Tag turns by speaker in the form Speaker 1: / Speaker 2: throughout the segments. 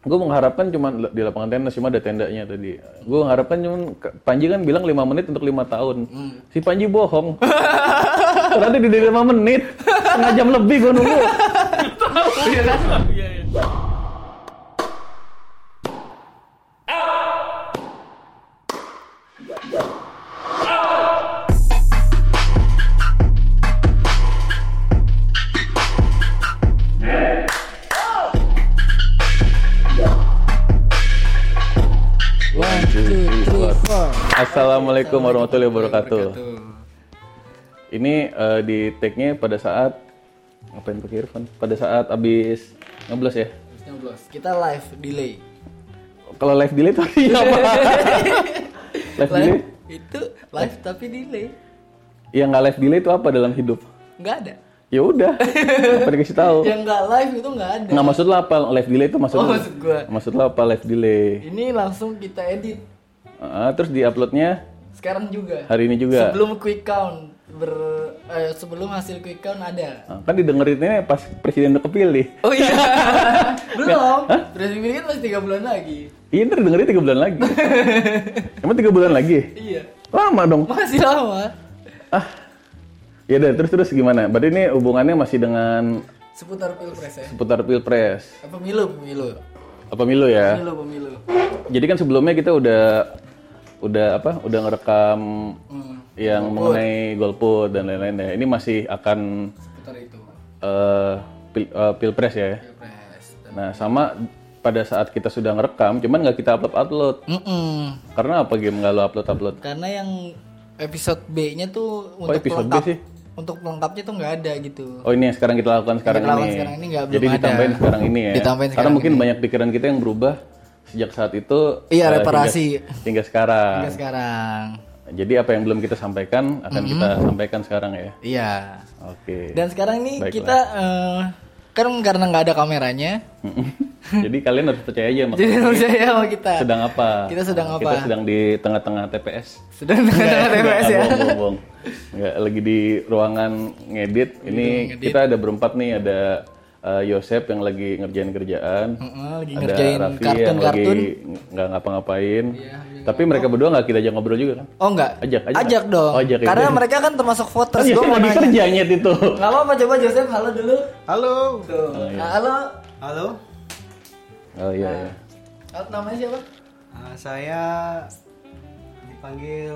Speaker 1: gue mengharapkan cuman di lapangan tenis cuma ada tendanya tadi gue mengharapkan cuman Panji kan bilang 5 menit untuk lima tahun si Panji bohong ternyata di 5 menit setengah jam lebih gue nunggu
Speaker 2: Iya kan? Iya, iya.
Speaker 1: One, two, three, four. Assalamualaikum warahmatullahi wabarakatuh
Speaker 2: Tuh.
Speaker 1: ini eh, di tag-nya pada saat ngapain pakai earphone pada saat abis 16 ya
Speaker 2: 19.
Speaker 3: Kita live delay.
Speaker 1: kalau live delay tuh artinya apa live delay
Speaker 3: Live itu live tapi delay.
Speaker 1: ya nggak live delay itu apa dalam hidup
Speaker 3: Nggak ada.
Speaker 1: ya udah apa dikasih tahu
Speaker 3: Yang nggak live itu nggak ada.
Speaker 1: nggak maksud lo apa live delay itu Oh. maksud
Speaker 3: Oh,
Speaker 1: lo-
Speaker 3: maksud gua.
Speaker 1: maksud lo apa live delay
Speaker 3: Ini langsung kita edit
Speaker 1: Ah, terus di uploadnya
Speaker 3: sekarang juga.
Speaker 1: hari ini juga
Speaker 3: Sebelum quick count ber eh, sebelum hasil quick count ada.
Speaker 1: Ah, kan didengerinnya pas presiden udah kepilih
Speaker 3: Oh iya. Belum. Presiden kan masih 3 bulan lagi.
Speaker 1: iya ntar dengerin tiga bulan lagi emang tiga bulan lagi
Speaker 3: Iya.
Speaker 1: lama dong
Speaker 3: Masih lama.
Speaker 1: ah ya udah terus terus gimana berarti ini hubungannya masih dengan
Speaker 3: Seputar pilpres ya.
Speaker 1: seputar pilpres
Speaker 3: Eh, Pemilu, pemilu.
Speaker 1: apa pemilu ya
Speaker 3: Pemilu, pemilu.
Speaker 1: jadi kan sebelumnya kita udah udah apa udah ngerekam
Speaker 3: Hmm,
Speaker 1: yang mengenai golput dan lain-lain ya ini masih akan
Speaker 3: Seputar itu.
Speaker 1: eh, pil- eh, pilpres ya
Speaker 3: Pilpres.
Speaker 1: nah sama pada saat kita sudah ngerekam cuman nggak kita upload upload
Speaker 3: Mm-mm.
Speaker 1: karena apa game nggak lo upload upload
Speaker 3: Karena yang episode B-nya tuh
Speaker 1: Kok
Speaker 3: untuk
Speaker 1: Oh, episode B
Speaker 3: pelengkap,
Speaker 1: sih?
Speaker 3: untuk pelengkapnya tuh nggak ada gitu.
Speaker 1: Oh ini yang sekarang kita lakukan sekarang
Speaker 3: Yang kita lakukan
Speaker 1: ini. ya,
Speaker 3: sekarang ini nggak-
Speaker 1: Jadi
Speaker 3: belum ada.
Speaker 1: ditambahin sekarang ini ya.
Speaker 3: Ditambahin
Speaker 1: Karena
Speaker 3: sekarang
Speaker 1: mungkin banyak pikiran kita yang berubah sejak saat itu.
Speaker 3: Iya,
Speaker 1: eh,
Speaker 3: reparasi.
Speaker 1: Hingga, hingga sekarang.
Speaker 3: Nggak sekarang.
Speaker 1: Jadi apa yang belum kita sampaikan akan
Speaker 3: Mm-hmm.
Speaker 1: kita sampaikan sekarang ya.
Speaker 3: Iya.
Speaker 1: Oke.
Speaker 3: Dan sekarang ini
Speaker 1: Baiklah.
Speaker 3: kita eh, kan karena nggak ada kameranya,
Speaker 1: Jadi kalian harus percaya aja Mak.
Speaker 3: jadi percaya sama kita.
Speaker 1: sedang apa?
Speaker 3: Kita sedang apa?
Speaker 1: Kita sedang di tengah-tengah TPS.
Speaker 3: Sedang dengan TPS ya.
Speaker 1: Nggak, bohong, bohong. Nggak, lagi di ruangan ngedit. Ini kita ada berempat nih, ada eh, Yosep yang lagi ngerjain kerjaan.
Speaker 3: Heeh,
Speaker 1: ada
Speaker 3: lagi Hmm. ngerjain Iya,
Speaker 1: Raffi yang lagi
Speaker 3: kartun-kartun.
Speaker 1: ng- nggak ngapa-ngapain. Tapi mereka berdua nggak kita ajak ngobrol juga kan?
Speaker 3: Oh enggak.
Speaker 1: Ajak, ajak.
Speaker 3: dong.
Speaker 1: Oh, ajak, ya, Oh, iya.
Speaker 3: karena
Speaker 1: ajak.
Speaker 3: mereka kan termasuk voters.
Speaker 1: Yosep
Speaker 3: Gue mau
Speaker 1: lagi
Speaker 3: nanya.
Speaker 1: kerja nyet itu.
Speaker 3: Nggak apa-apa coba Joseph halo dulu.
Speaker 2: Halo.
Speaker 3: Tuh.
Speaker 1: iya.
Speaker 3: Halo.
Speaker 2: Halo.
Speaker 1: Oh iya. iya.
Speaker 3: Halo, Namanya siapa?
Speaker 2: Ah, saya dipanggil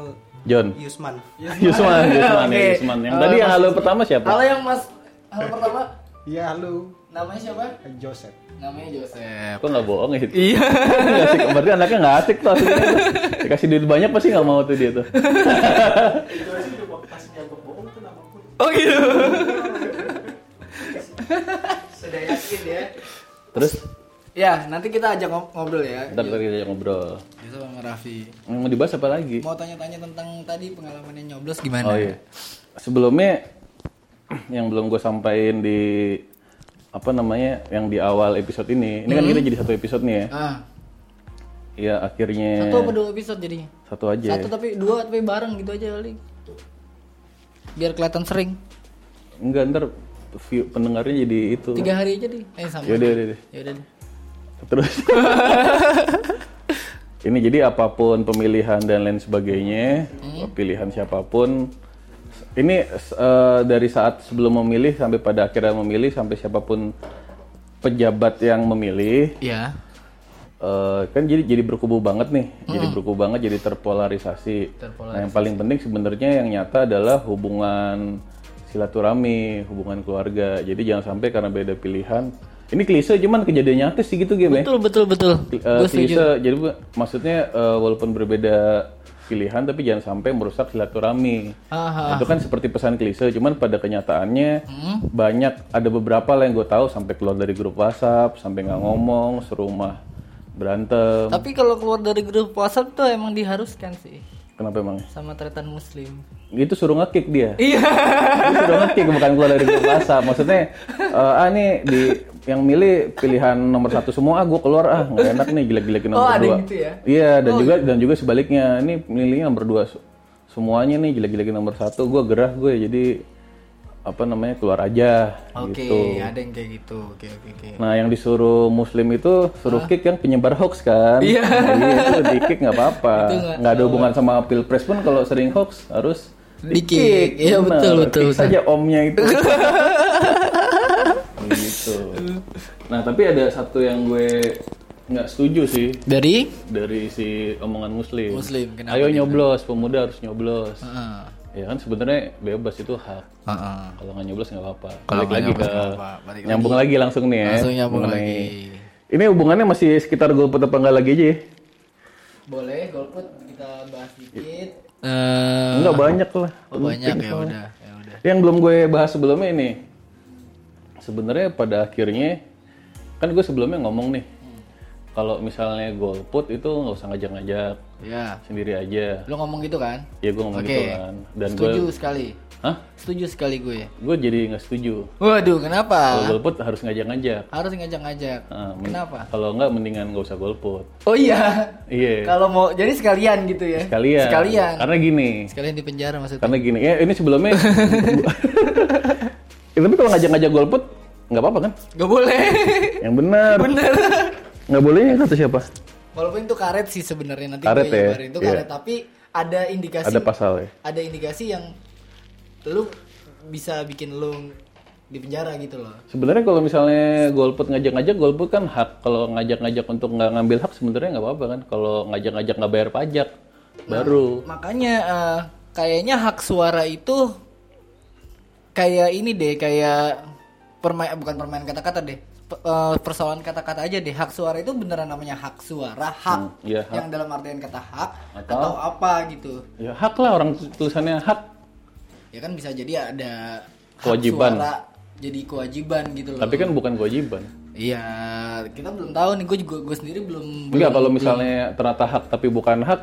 Speaker 1: John.
Speaker 2: Yusman.
Speaker 1: Yusman, Yusman, ya,
Speaker 3: Oke. Eh,
Speaker 1: Yusman. Yang
Speaker 3: Halo,
Speaker 1: tadi yang
Speaker 3: Mas
Speaker 1: halo
Speaker 3: Yusman.
Speaker 1: pertama siapa?
Speaker 3: Halo yang Mas. Halo pertama.
Speaker 2: Iya, halo.
Speaker 3: Namanya siapa?
Speaker 2: Joseph.
Speaker 3: Namanya Joseph.
Speaker 1: Kok nggak bohong ya? itu?
Speaker 3: Iya.
Speaker 1: Nggak asik. Berarti anaknya nggak asik tuh. aslinya. Dikasih duit banyak pasti nggak mau tuh dia tuh.
Speaker 3: Oh gitu.
Speaker 2: Sudah yakin ya?
Speaker 1: Terus
Speaker 3: ya, nanti kita ajak ngob- ngobrol ya.
Speaker 1: ntar kita ajak ngobrol.
Speaker 3: Yusuf sama Raffi.
Speaker 1: Yang mau dibahas apa lagi?
Speaker 3: Mau tanya-tanya tentang tadi pengalamannya nyoblos gimana?
Speaker 1: Oh iya. Sebelumnya yang belum gue sampaikan di apa namanya yang di awal episode ini, ini
Speaker 3: Hmm.
Speaker 1: kan kita jadi satu episode nih ya.
Speaker 3: Ah,
Speaker 1: Iya akhirnya
Speaker 3: satu apa dua episode jadinya?
Speaker 1: satu aja.
Speaker 3: Satu tapi dua tapi bareng gitu aja kali. Biar kelihatan sering.
Speaker 1: Enggak ntar view pendengarnya jadi itu.
Speaker 3: Tiga hari aja deh. Eh sama.
Speaker 1: Yaudah, yaudah, yaudah.
Speaker 3: Yaudah deh.
Speaker 1: Terus. ini jadi apapun pemilihan dan lain sebagainya, pilihan siapapun. Ini eh, dari saat sebelum memilih sampai pada akhirnya memilih sampai siapapun pejabat yang memilih
Speaker 3: Iya.
Speaker 1: Eh, kan jadi jadi berkubu banget nih, jadi berkubu banget, jadi terpolarisasi. Nah, yang paling penting sebenarnya yang nyata adalah hubungan silaturahmi, hubungan keluarga. Jadi jangan sampai karena beda pilihan. Ini klise cuman kejadian nyata sih gitu game ya.
Speaker 3: Betul betul betul.
Speaker 1: Kli- eh, klise. Jadi bu- maksudnya eh, walaupun berbeda pilihan tapi jangan sampai merusak silaturahmi.
Speaker 3: Aha.
Speaker 1: Nah, itu kan seperti pesan klise, cuman pada kenyataannya banyak ada beberapa lah yang gue tahu sampai keluar dari grup WhatsApp, sampai nggak ngomong, serumah berantem.
Speaker 3: Tapi kalau keluar dari grup WhatsApp tuh emang diharuskan sih
Speaker 1: Kenapa emang?
Speaker 3: sama tretan muslim.
Speaker 1: Itu Gitu suruh ngekick dia.
Speaker 3: Iya.
Speaker 1: Itu suruh ngekick bukan keluar dari grup WhatsApp. Maksudnya eh, ah nih di yang milih pilihan nomor satu semua ah gue keluar ah nggak enak nih jelek-jelekin nomor
Speaker 3: Oh, ada
Speaker 1: dua.
Speaker 3: gitu ya?
Speaker 1: Iya dan juga dan juga sebaliknya ini milihnya nomor dua se- semuanya nih jelek-jelekin nomor satu gue gerah gue ya jadi apa namanya keluar aja
Speaker 3: Oke,
Speaker 1: gitu.
Speaker 3: ada yang kayak gitu. Oke, oke, oke.
Speaker 1: Nah, yang disuruh muslim itu suruh kick yang penyebar hoax kan?
Speaker 3: Iya.
Speaker 1: Iya, itu di kick nggak apa-apa.
Speaker 3: Itu nggak-
Speaker 1: Nggak ada hubungan sama pilpres pun kalau sering hoax harus
Speaker 3: Di kick. Iya,
Speaker 1: Benar,
Speaker 3: betul, betul,
Speaker 1: kick
Speaker 3: betul.
Speaker 1: saja omnya itu. gitu. Nah, tapi ada satu yang gue nggak setuju sih
Speaker 3: Dari
Speaker 1: dari si omongan muslim. kan?
Speaker 3: Muslim, kenapa gitu?
Speaker 1: Ayo nyoblos, pemuda harus nyoblos.
Speaker 3: Heeh.
Speaker 1: Ya kan sebenarnya bebas itu hak.
Speaker 3: Heeh.
Speaker 1: Kalau nggak nyoblos nggak apa-apa.
Speaker 3: Kalau
Speaker 1: Balik
Speaker 3: nggak
Speaker 1: lagi
Speaker 3: nyoblos
Speaker 1: ke
Speaker 3: nggak apa-apa. Balik lagi.
Speaker 1: nyambung lagi langsung nih ya.
Speaker 3: Langsung nyambung
Speaker 1: mengenai-
Speaker 3: lagi.
Speaker 1: Ini hubungannya masih sekitar golput apa nggak lagi aja ya?
Speaker 3: Boleh, golput kita bahas dikit. Ah.
Speaker 1: Enggak banyak lah.
Speaker 3: oh, Eh, banyak
Speaker 1: Iya.
Speaker 3: ya udah, ya udah.
Speaker 1: Yang belum gue bahas sebelumnya ini. Sebenarnya pada akhirnya kan gue sebelumnya ngomong nih. Kalau misalnya golput itu nggak usah ngajak-ngajak
Speaker 3: Ya.
Speaker 1: sendiri aja.
Speaker 3: Lu ngomong gitu kan?
Speaker 1: Ya gue ngomong
Speaker 3: Oke.
Speaker 1: gitu kan. Dan gue,
Speaker 3: Setuju sekali.
Speaker 1: hah?
Speaker 3: Setuju sekali gue.
Speaker 1: Gue jadi nggak setuju.
Speaker 3: Waduh, kenapa?
Speaker 1: Kalau golput harus ngajak-ngajak.
Speaker 3: Harus ngajak-ngajak.
Speaker 1: Ah, men-
Speaker 3: Ah. Kenapa?
Speaker 1: Kalau nggak mendingan nggak usah golput.
Speaker 3: Oh iya.
Speaker 1: Iya.
Speaker 3: Kalau mau jadi sekalian gitu ya.
Speaker 1: Sekalian. Kan-
Speaker 3: Sekalian.
Speaker 1: Karena gini.
Speaker 3: Sekalian di penjara maksudnya.
Speaker 1: Karena gini. Ya, ini sebelumnya. Ya, tapi kalau ngajak-ngajak golput nggak apa-apa kan?
Speaker 3: Gak boleh.
Speaker 1: Yang benar.
Speaker 3: Bener.
Speaker 1: Nggak boleh ya, kata siapa?
Speaker 3: Walaupun itu karet sih sebenarnya nanti
Speaker 1: Karet
Speaker 3: gue
Speaker 1: ya?
Speaker 3: nyebarin itu
Speaker 1: Iya.
Speaker 3: karet tapi ada indikasi
Speaker 1: Ada pasal ya.
Speaker 3: ada indikasi yang lu bisa bikin lu di penjara gitu loh.
Speaker 1: Sebenarnya kalau misalnya golput ngajak-ngajak, golput kan hak. Kalau ngajak-ngajak untuk nggak ngambil hak sebenarnya nggak apa-apa kan? Kalau ngajak-ngajak nggak bayar pajak, baru.
Speaker 3: Makanya eh, kayaknya hak suara itu kayak ini deh, kayak permain bukan permain kata-kata deh. Pe- eh, persoalan kata-kata aja deh. Hak suara itu beneran namanya hak suara, hak.
Speaker 1: Hmm, iya, hak.
Speaker 3: Yang dalam artian kata hak atau,
Speaker 1: Atau-
Speaker 3: apa gitu.
Speaker 1: Ya hak lah orang tulisannya hak.
Speaker 3: Ya kan bisa jadi ada hak
Speaker 1: Kewajiban.
Speaker 3: suara jadi kewajiban gitu loh.
Speaker 1: Tapi kan bukan kewajiban.
Speaker 3: Iya, kita belum tahu nih. Gue juga gue sendiri belum.
Speaker 1: Enggak
Speaker 3: belum-
Speaker 1: kalau misalnya ternyata hak tapi bukan hak,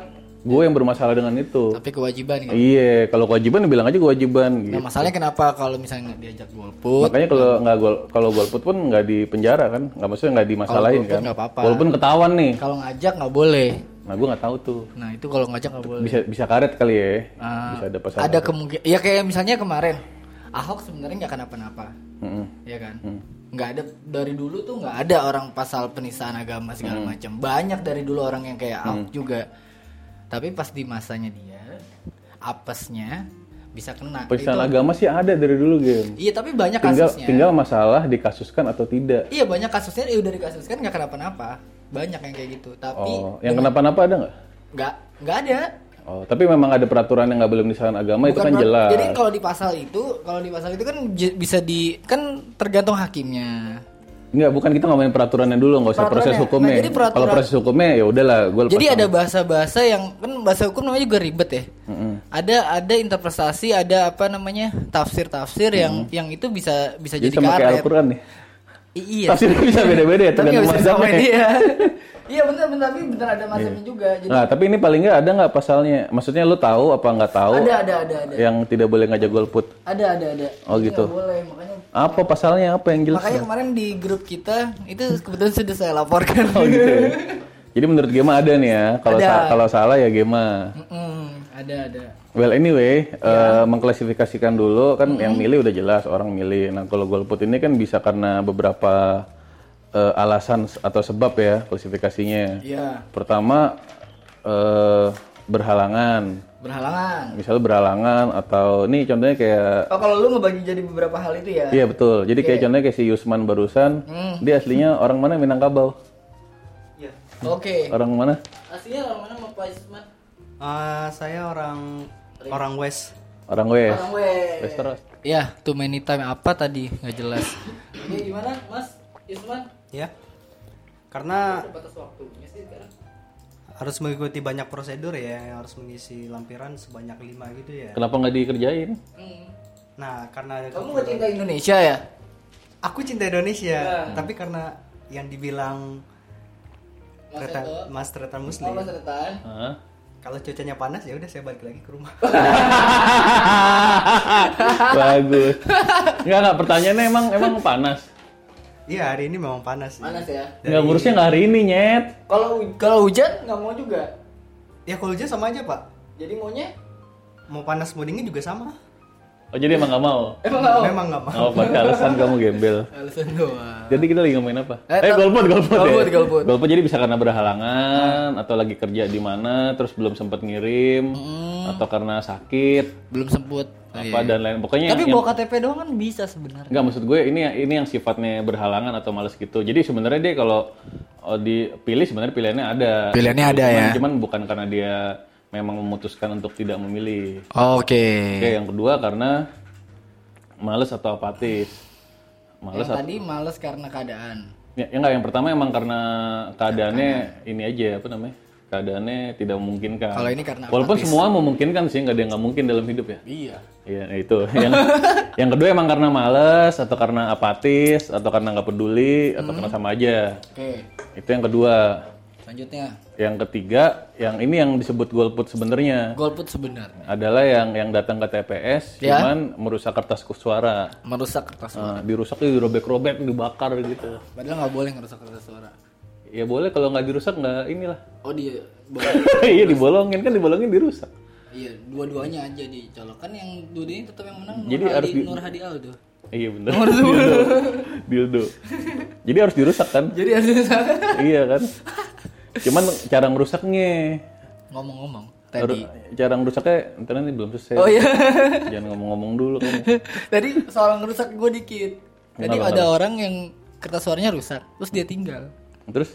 Speaker 1: gue yang bermasalah dengan itu.
Speaker 3: Tapi kewajiban gitu.
Speaker 1: Iya, kalau kewajiban bilang aja kewajiban
Speaker 3: Nah
Speaker 1: gitu.
Speaker 3: masalahnya kenapa kalau misalnya nggak diajak golput?
Speaker 1: Makanya kalau nggak gol, kalau golput pun nggak di penjara kan, nggak maksudnya nggak dimasalahin
Speaker 3: Kalau golput
Speaker 1: kan.
Speaker 3: nggak apa-apa.
Speaker 1: Walaupun ketahuan nih,
Speaker 3: Kalau ngajak nggak boleh.
Speaker 1: nah gue nggak tahu tuh.
Speaker 3: Nah itu kalau ngajak nggak boleh.
Speaker 1: Bisa bisa karet kali ya,
Speaker 3: Ah,
Speaker 1: bisa ada pasangan.
Speaker 3: ada kemungkinan. Ya kayak misalnya kemarin, Ahok sebenarnya nggak kenapa-napa,
Speaker 1: Mm-mm.
Speaker 3: ya kan?
Speaker 1: Hmm.
Speaker 3: Nggak ada dari dulu tuh nggak ada orang pasal penistaan
Speaker 1: Hmm.
Speaker 3: agama segala macam. Banyak dari dulu orang yang kayak Ahok juga. Tapi pas di masanya dia, apesnya bisa kena.
Speaker 1: Penistaan
Speaker 3: Itu-
Speaker 1: agama sih ada dari dulu game.
Speaker 3: Iya tapi banyak
Speaker 1: Tinggal
Speaker 3: kasusnya.
Speaker 1: tinggal masalah dikasuskan atau tidak.
Speaker 3: Iya banyak kasusnya. Iya udah dikasuskan nggak kenapa-napa. Banyak yang kayak gitu. Tapi
Speaker 1: Oh, yang kenapa-napa ada nggak?
Speaker 3: nggak nggak ada.
Speaker 1: Oh, tapi memang ada peraturan yang nggak boleh menistakan agama itu
Speaker 3: Bukan
Speaker 1: kan
Speaker 3: pra-
Speaker 1: jelas.
Speaker 3: Jadi kalau di pasal itu, kalau di pasal itu kan j- bisa di kan tergantung hakimnya.
Speaker 1: Enggak, bukan kita ngomongin peraturannya dulu, nggak usah
Speaker 3: Peraturannya.
Speaker 1: proses hukumnya.
Speaker 3: Nah, jadi peraturan-
Speaker 1: Kalau proses hukumnya ya udahlah, gue lepas.
Speaker 3: Jadi ada bahasa-bahasa yang kan bahasa hukum namanya juga ribet ya. Ada ada interpretasi, ada apa namanya tafsir-tafsir yang yang itu bisa bisa
Speaker 1: Jadi
Speaker 3: jadi,
Speaker 1: sama kayak
Speaker 3: karet.
Speaker 1: Al-Quran nih.
Speaker 3: I- iya.
Speaker 1: Tafsirnya bisa beda-beda ya,
Speaker 3: Tapi nggak
Speaker 1: tergantung
Speaker 3: bisa
Speaker 1: mazhabnya.
Speaker 3: disamain, iya. Iya bener bener tapi bener ada masanya juga. Jadi
Speaker 1: Nah, tapi ini paling nggak ada nggak pasalnya? Maksudnya lu tahu apa nggak tahu
Speaker 3: ada ada ada ada.
Speaker 1: yang tidak boleh ngajak golput?
Speaker 3: Ada ada ada.
Speaker 1: Oh,
Speaker 3: Jadi
Speaker 1: gitu.
Speaker 3: nggak boleh makanya
Speaker 1: Apa pasalnya? Apa yang jelas?
Speaker 3: makanya kemarin di grup kita itu kebetulan sudah saya laporkan.
Speaker 1: Oh, gitu ya. Jadi menurut Gema ada nih ya. Kalau
Speaker 3: Ada.
Speaker 1: sa- kalau salah ya Gema.
Speaker 3: Mm-mm, ada ada.
Speaker 1: Well anyway,
Speaker 3: Iya.
Speaker 1: eh, mengklasifikasikan dulu kan yang milih udah jelas orang milih. Nah kalau golput ini kan bisa karena beberapa eh, alasan s- atau sebab ya klasifikasinya.
Speaker 3: Iya,
Speaker 1: Pertama eh, berhalangan,
Speaker 3: berhalangan.
Speaker 1: misalnya berhalangan atau ini contohnya kayak
Speaker 3: Oh, kalau lu ngebagi jadi beberapa hal itu ya.
Speaker 1: Iya betul. Jadi kayak contohnya kayak si Yusman barusan,
Speaker 3: Hmm.
Speaker 1: dia aslinya orang mana Minangkabau?
Speaker 2: Iya.
Speaker 3: Oke.
Speaker 1: Orang mana?
Speaker 3: Aslinya orang mana mau Pak Isman?
Speaker 2: Ah, saya orang orang West.
Speaker 1: Orang West.
Speaker 3: Orang West.
Speaker 1: Westeros.
Speaker 3: Ya, too many time apa tadi? Nggak jelas. Ini Ya, gimana, Mas Isman?
Speaker 2: Ya. Karena
Speaker 3: Batas waktunya sih sekarang.
Speaker 2: harus mengikuti banyak prosedur ya, harus mengisi lampiran sebanyak lima gitu ya.
Speaker 1: Kenapa nggak dikerjain?
Speaker 3: Hmm.
Speaker 2: Nah, karena ada
Speaker 3: Kamu nggak cinta Iya. Indonesia ya?
Speaker 2: aku cinta Indonesia, tapi karena yang dibilang kereta- mas kereta muslim,
Speaker 3: Oh, Mas Retan.
Speaker 1: Hah?
Speaker 2: kalau cuacanya panas ya udah saya balik lagi ke rumah.
Speaker 1: Bagus. Enggak enggak pertanyaannya emang emang panas.
Speaker 2: Iya, hari ini memang panas. sih.
Speaker 3: Panas ya.
Speaker 1: Enggak ngurusnya nggak hari ini, Nyet.
Speaker 3: Kalau hu- kalau hujan nggak mau juga.
Speaker 2: Ya kalau hujan sama aja, Pak.
Speaker 3: Jadi maunya
Speaker 2: Mau panas mau dingin juga sama.
Speaker 1: Oh jadi emang nggak mau?
Speaker 3: Emang nggak mau?
Speaker 2: Memang nggak mau.
Speaker 1: Oh, pakai alasan kamu gembel.
Speaker 3: Alasan doang.
Speaker 1: Jadi kita lagi ngomongin apa?
Speaker 3: Eh,
Speaker 1: Eh,
Speaker 3: tar-
Speaker 1: golput, golput ya.
Speaker 3: golput, golput.
Speaker 1: Golput jadi bisa karena berhalangan, atau lagi kerja di mana, terus belum sempat ngirim,
Speaker 3: Hmm.
Speaker 1: atau karena sakit,
Speaker 3: Belum semput.
Speaker 1: apa dan lain. Pokoknya
Speaker 3: Iya. Tapi
Speaker 1: yang,
Speaker 3: bawa KTP doang kan bisa sebenarnya.
Speaker 1: Enggak maksud gue ini ya, ini yang sifatnya berhalangan atau males gitu. Jadi sebenarnya dia kalau oh, dipilih sebenarnya pilihannya ada.
Speaker 3: Pilihannya ada ya.
Speaker 1: Cuman, cuman bukan karena dia memang memutuskan untuk tidak memilih.
Speaker 3: Oke.
Speaker 1: Oke, yang kedua karena males atau apatis. Males
Speaker 3: Yang tadi males karena keadaan.
Speaker 1: Ya, ya enggak, yang pertama emang karena keadaannya ini aja apa namanya? Keadaannya tidak memungkinkan.
Speaker 3: Kalau ini karena
Speaker 1: Walaupun semua memungkinkan sih, nggak ada yang nggak mungkin dalam hidup ya.
Speaker 3: Iya.
Speaker 1: Iya, nah itu. Yang, yang kedua emang karena males atau karena apatis atau karena nggak peduli atau karena sama aja.
Speaker 3: Oke.
Speaker 1: Itu yang kedua.
Speaker 3: Selanjutnya
Speaker 1: Yang ketiga, yang ini yang disebut golput sebenarnya
Speaker 3: golput sebenarnya
Speaker 1: adalah yang yang datang ke TPS
Speaker 3: Ya.
Speaker 1: cuman merusak kertas suara.
Speaker 3: merusak kertas.
Speaker 1: Nah,
Speaker 3: suara.
Speaker 1: dirusak dirobek-robek, dibakar gitu.
Speaker 3: Padahal nggak boleh ngerusak kertas suara.
Speaker 1: Ya boleh kalau nggak dirusak nggak inilah.
Speaker 3: Oh dia
Speaker 1: Iya dibolongin kan dibolongin dirusak.
Speaker 3: Iya, dua-duanya aja dicolokkan yang dua ini tetap yang menang
Speaker 1: Jadi
Speaker 3: Nur
Speaker 1: harus
Speaker 3: Hadi,
Speaker 1: di-
Speaker 3: Nur Hadi Aldo.
Speaker 1: Iya bener. Dildo. Dildo. Jadi harus dirusak kan?
Speaker 3: Jadi harus
Speaker 1: iya kan? Cuman cara ngerusaknya
Speaker 3: ngomong-ngomong tadi.
Speaker 1: cara ngerusaknya ntar nanti belum selesai.
Speaker 3: Oh iya.
Speaker 1: Jangan ngomong-ngomong dulu kan. kamu.
Speaker 3: tadi soal ngerusak gue dikit. Tadi ada orang yang kertas suaranya rusak, terus dia tinggal
Speaker 1: Terus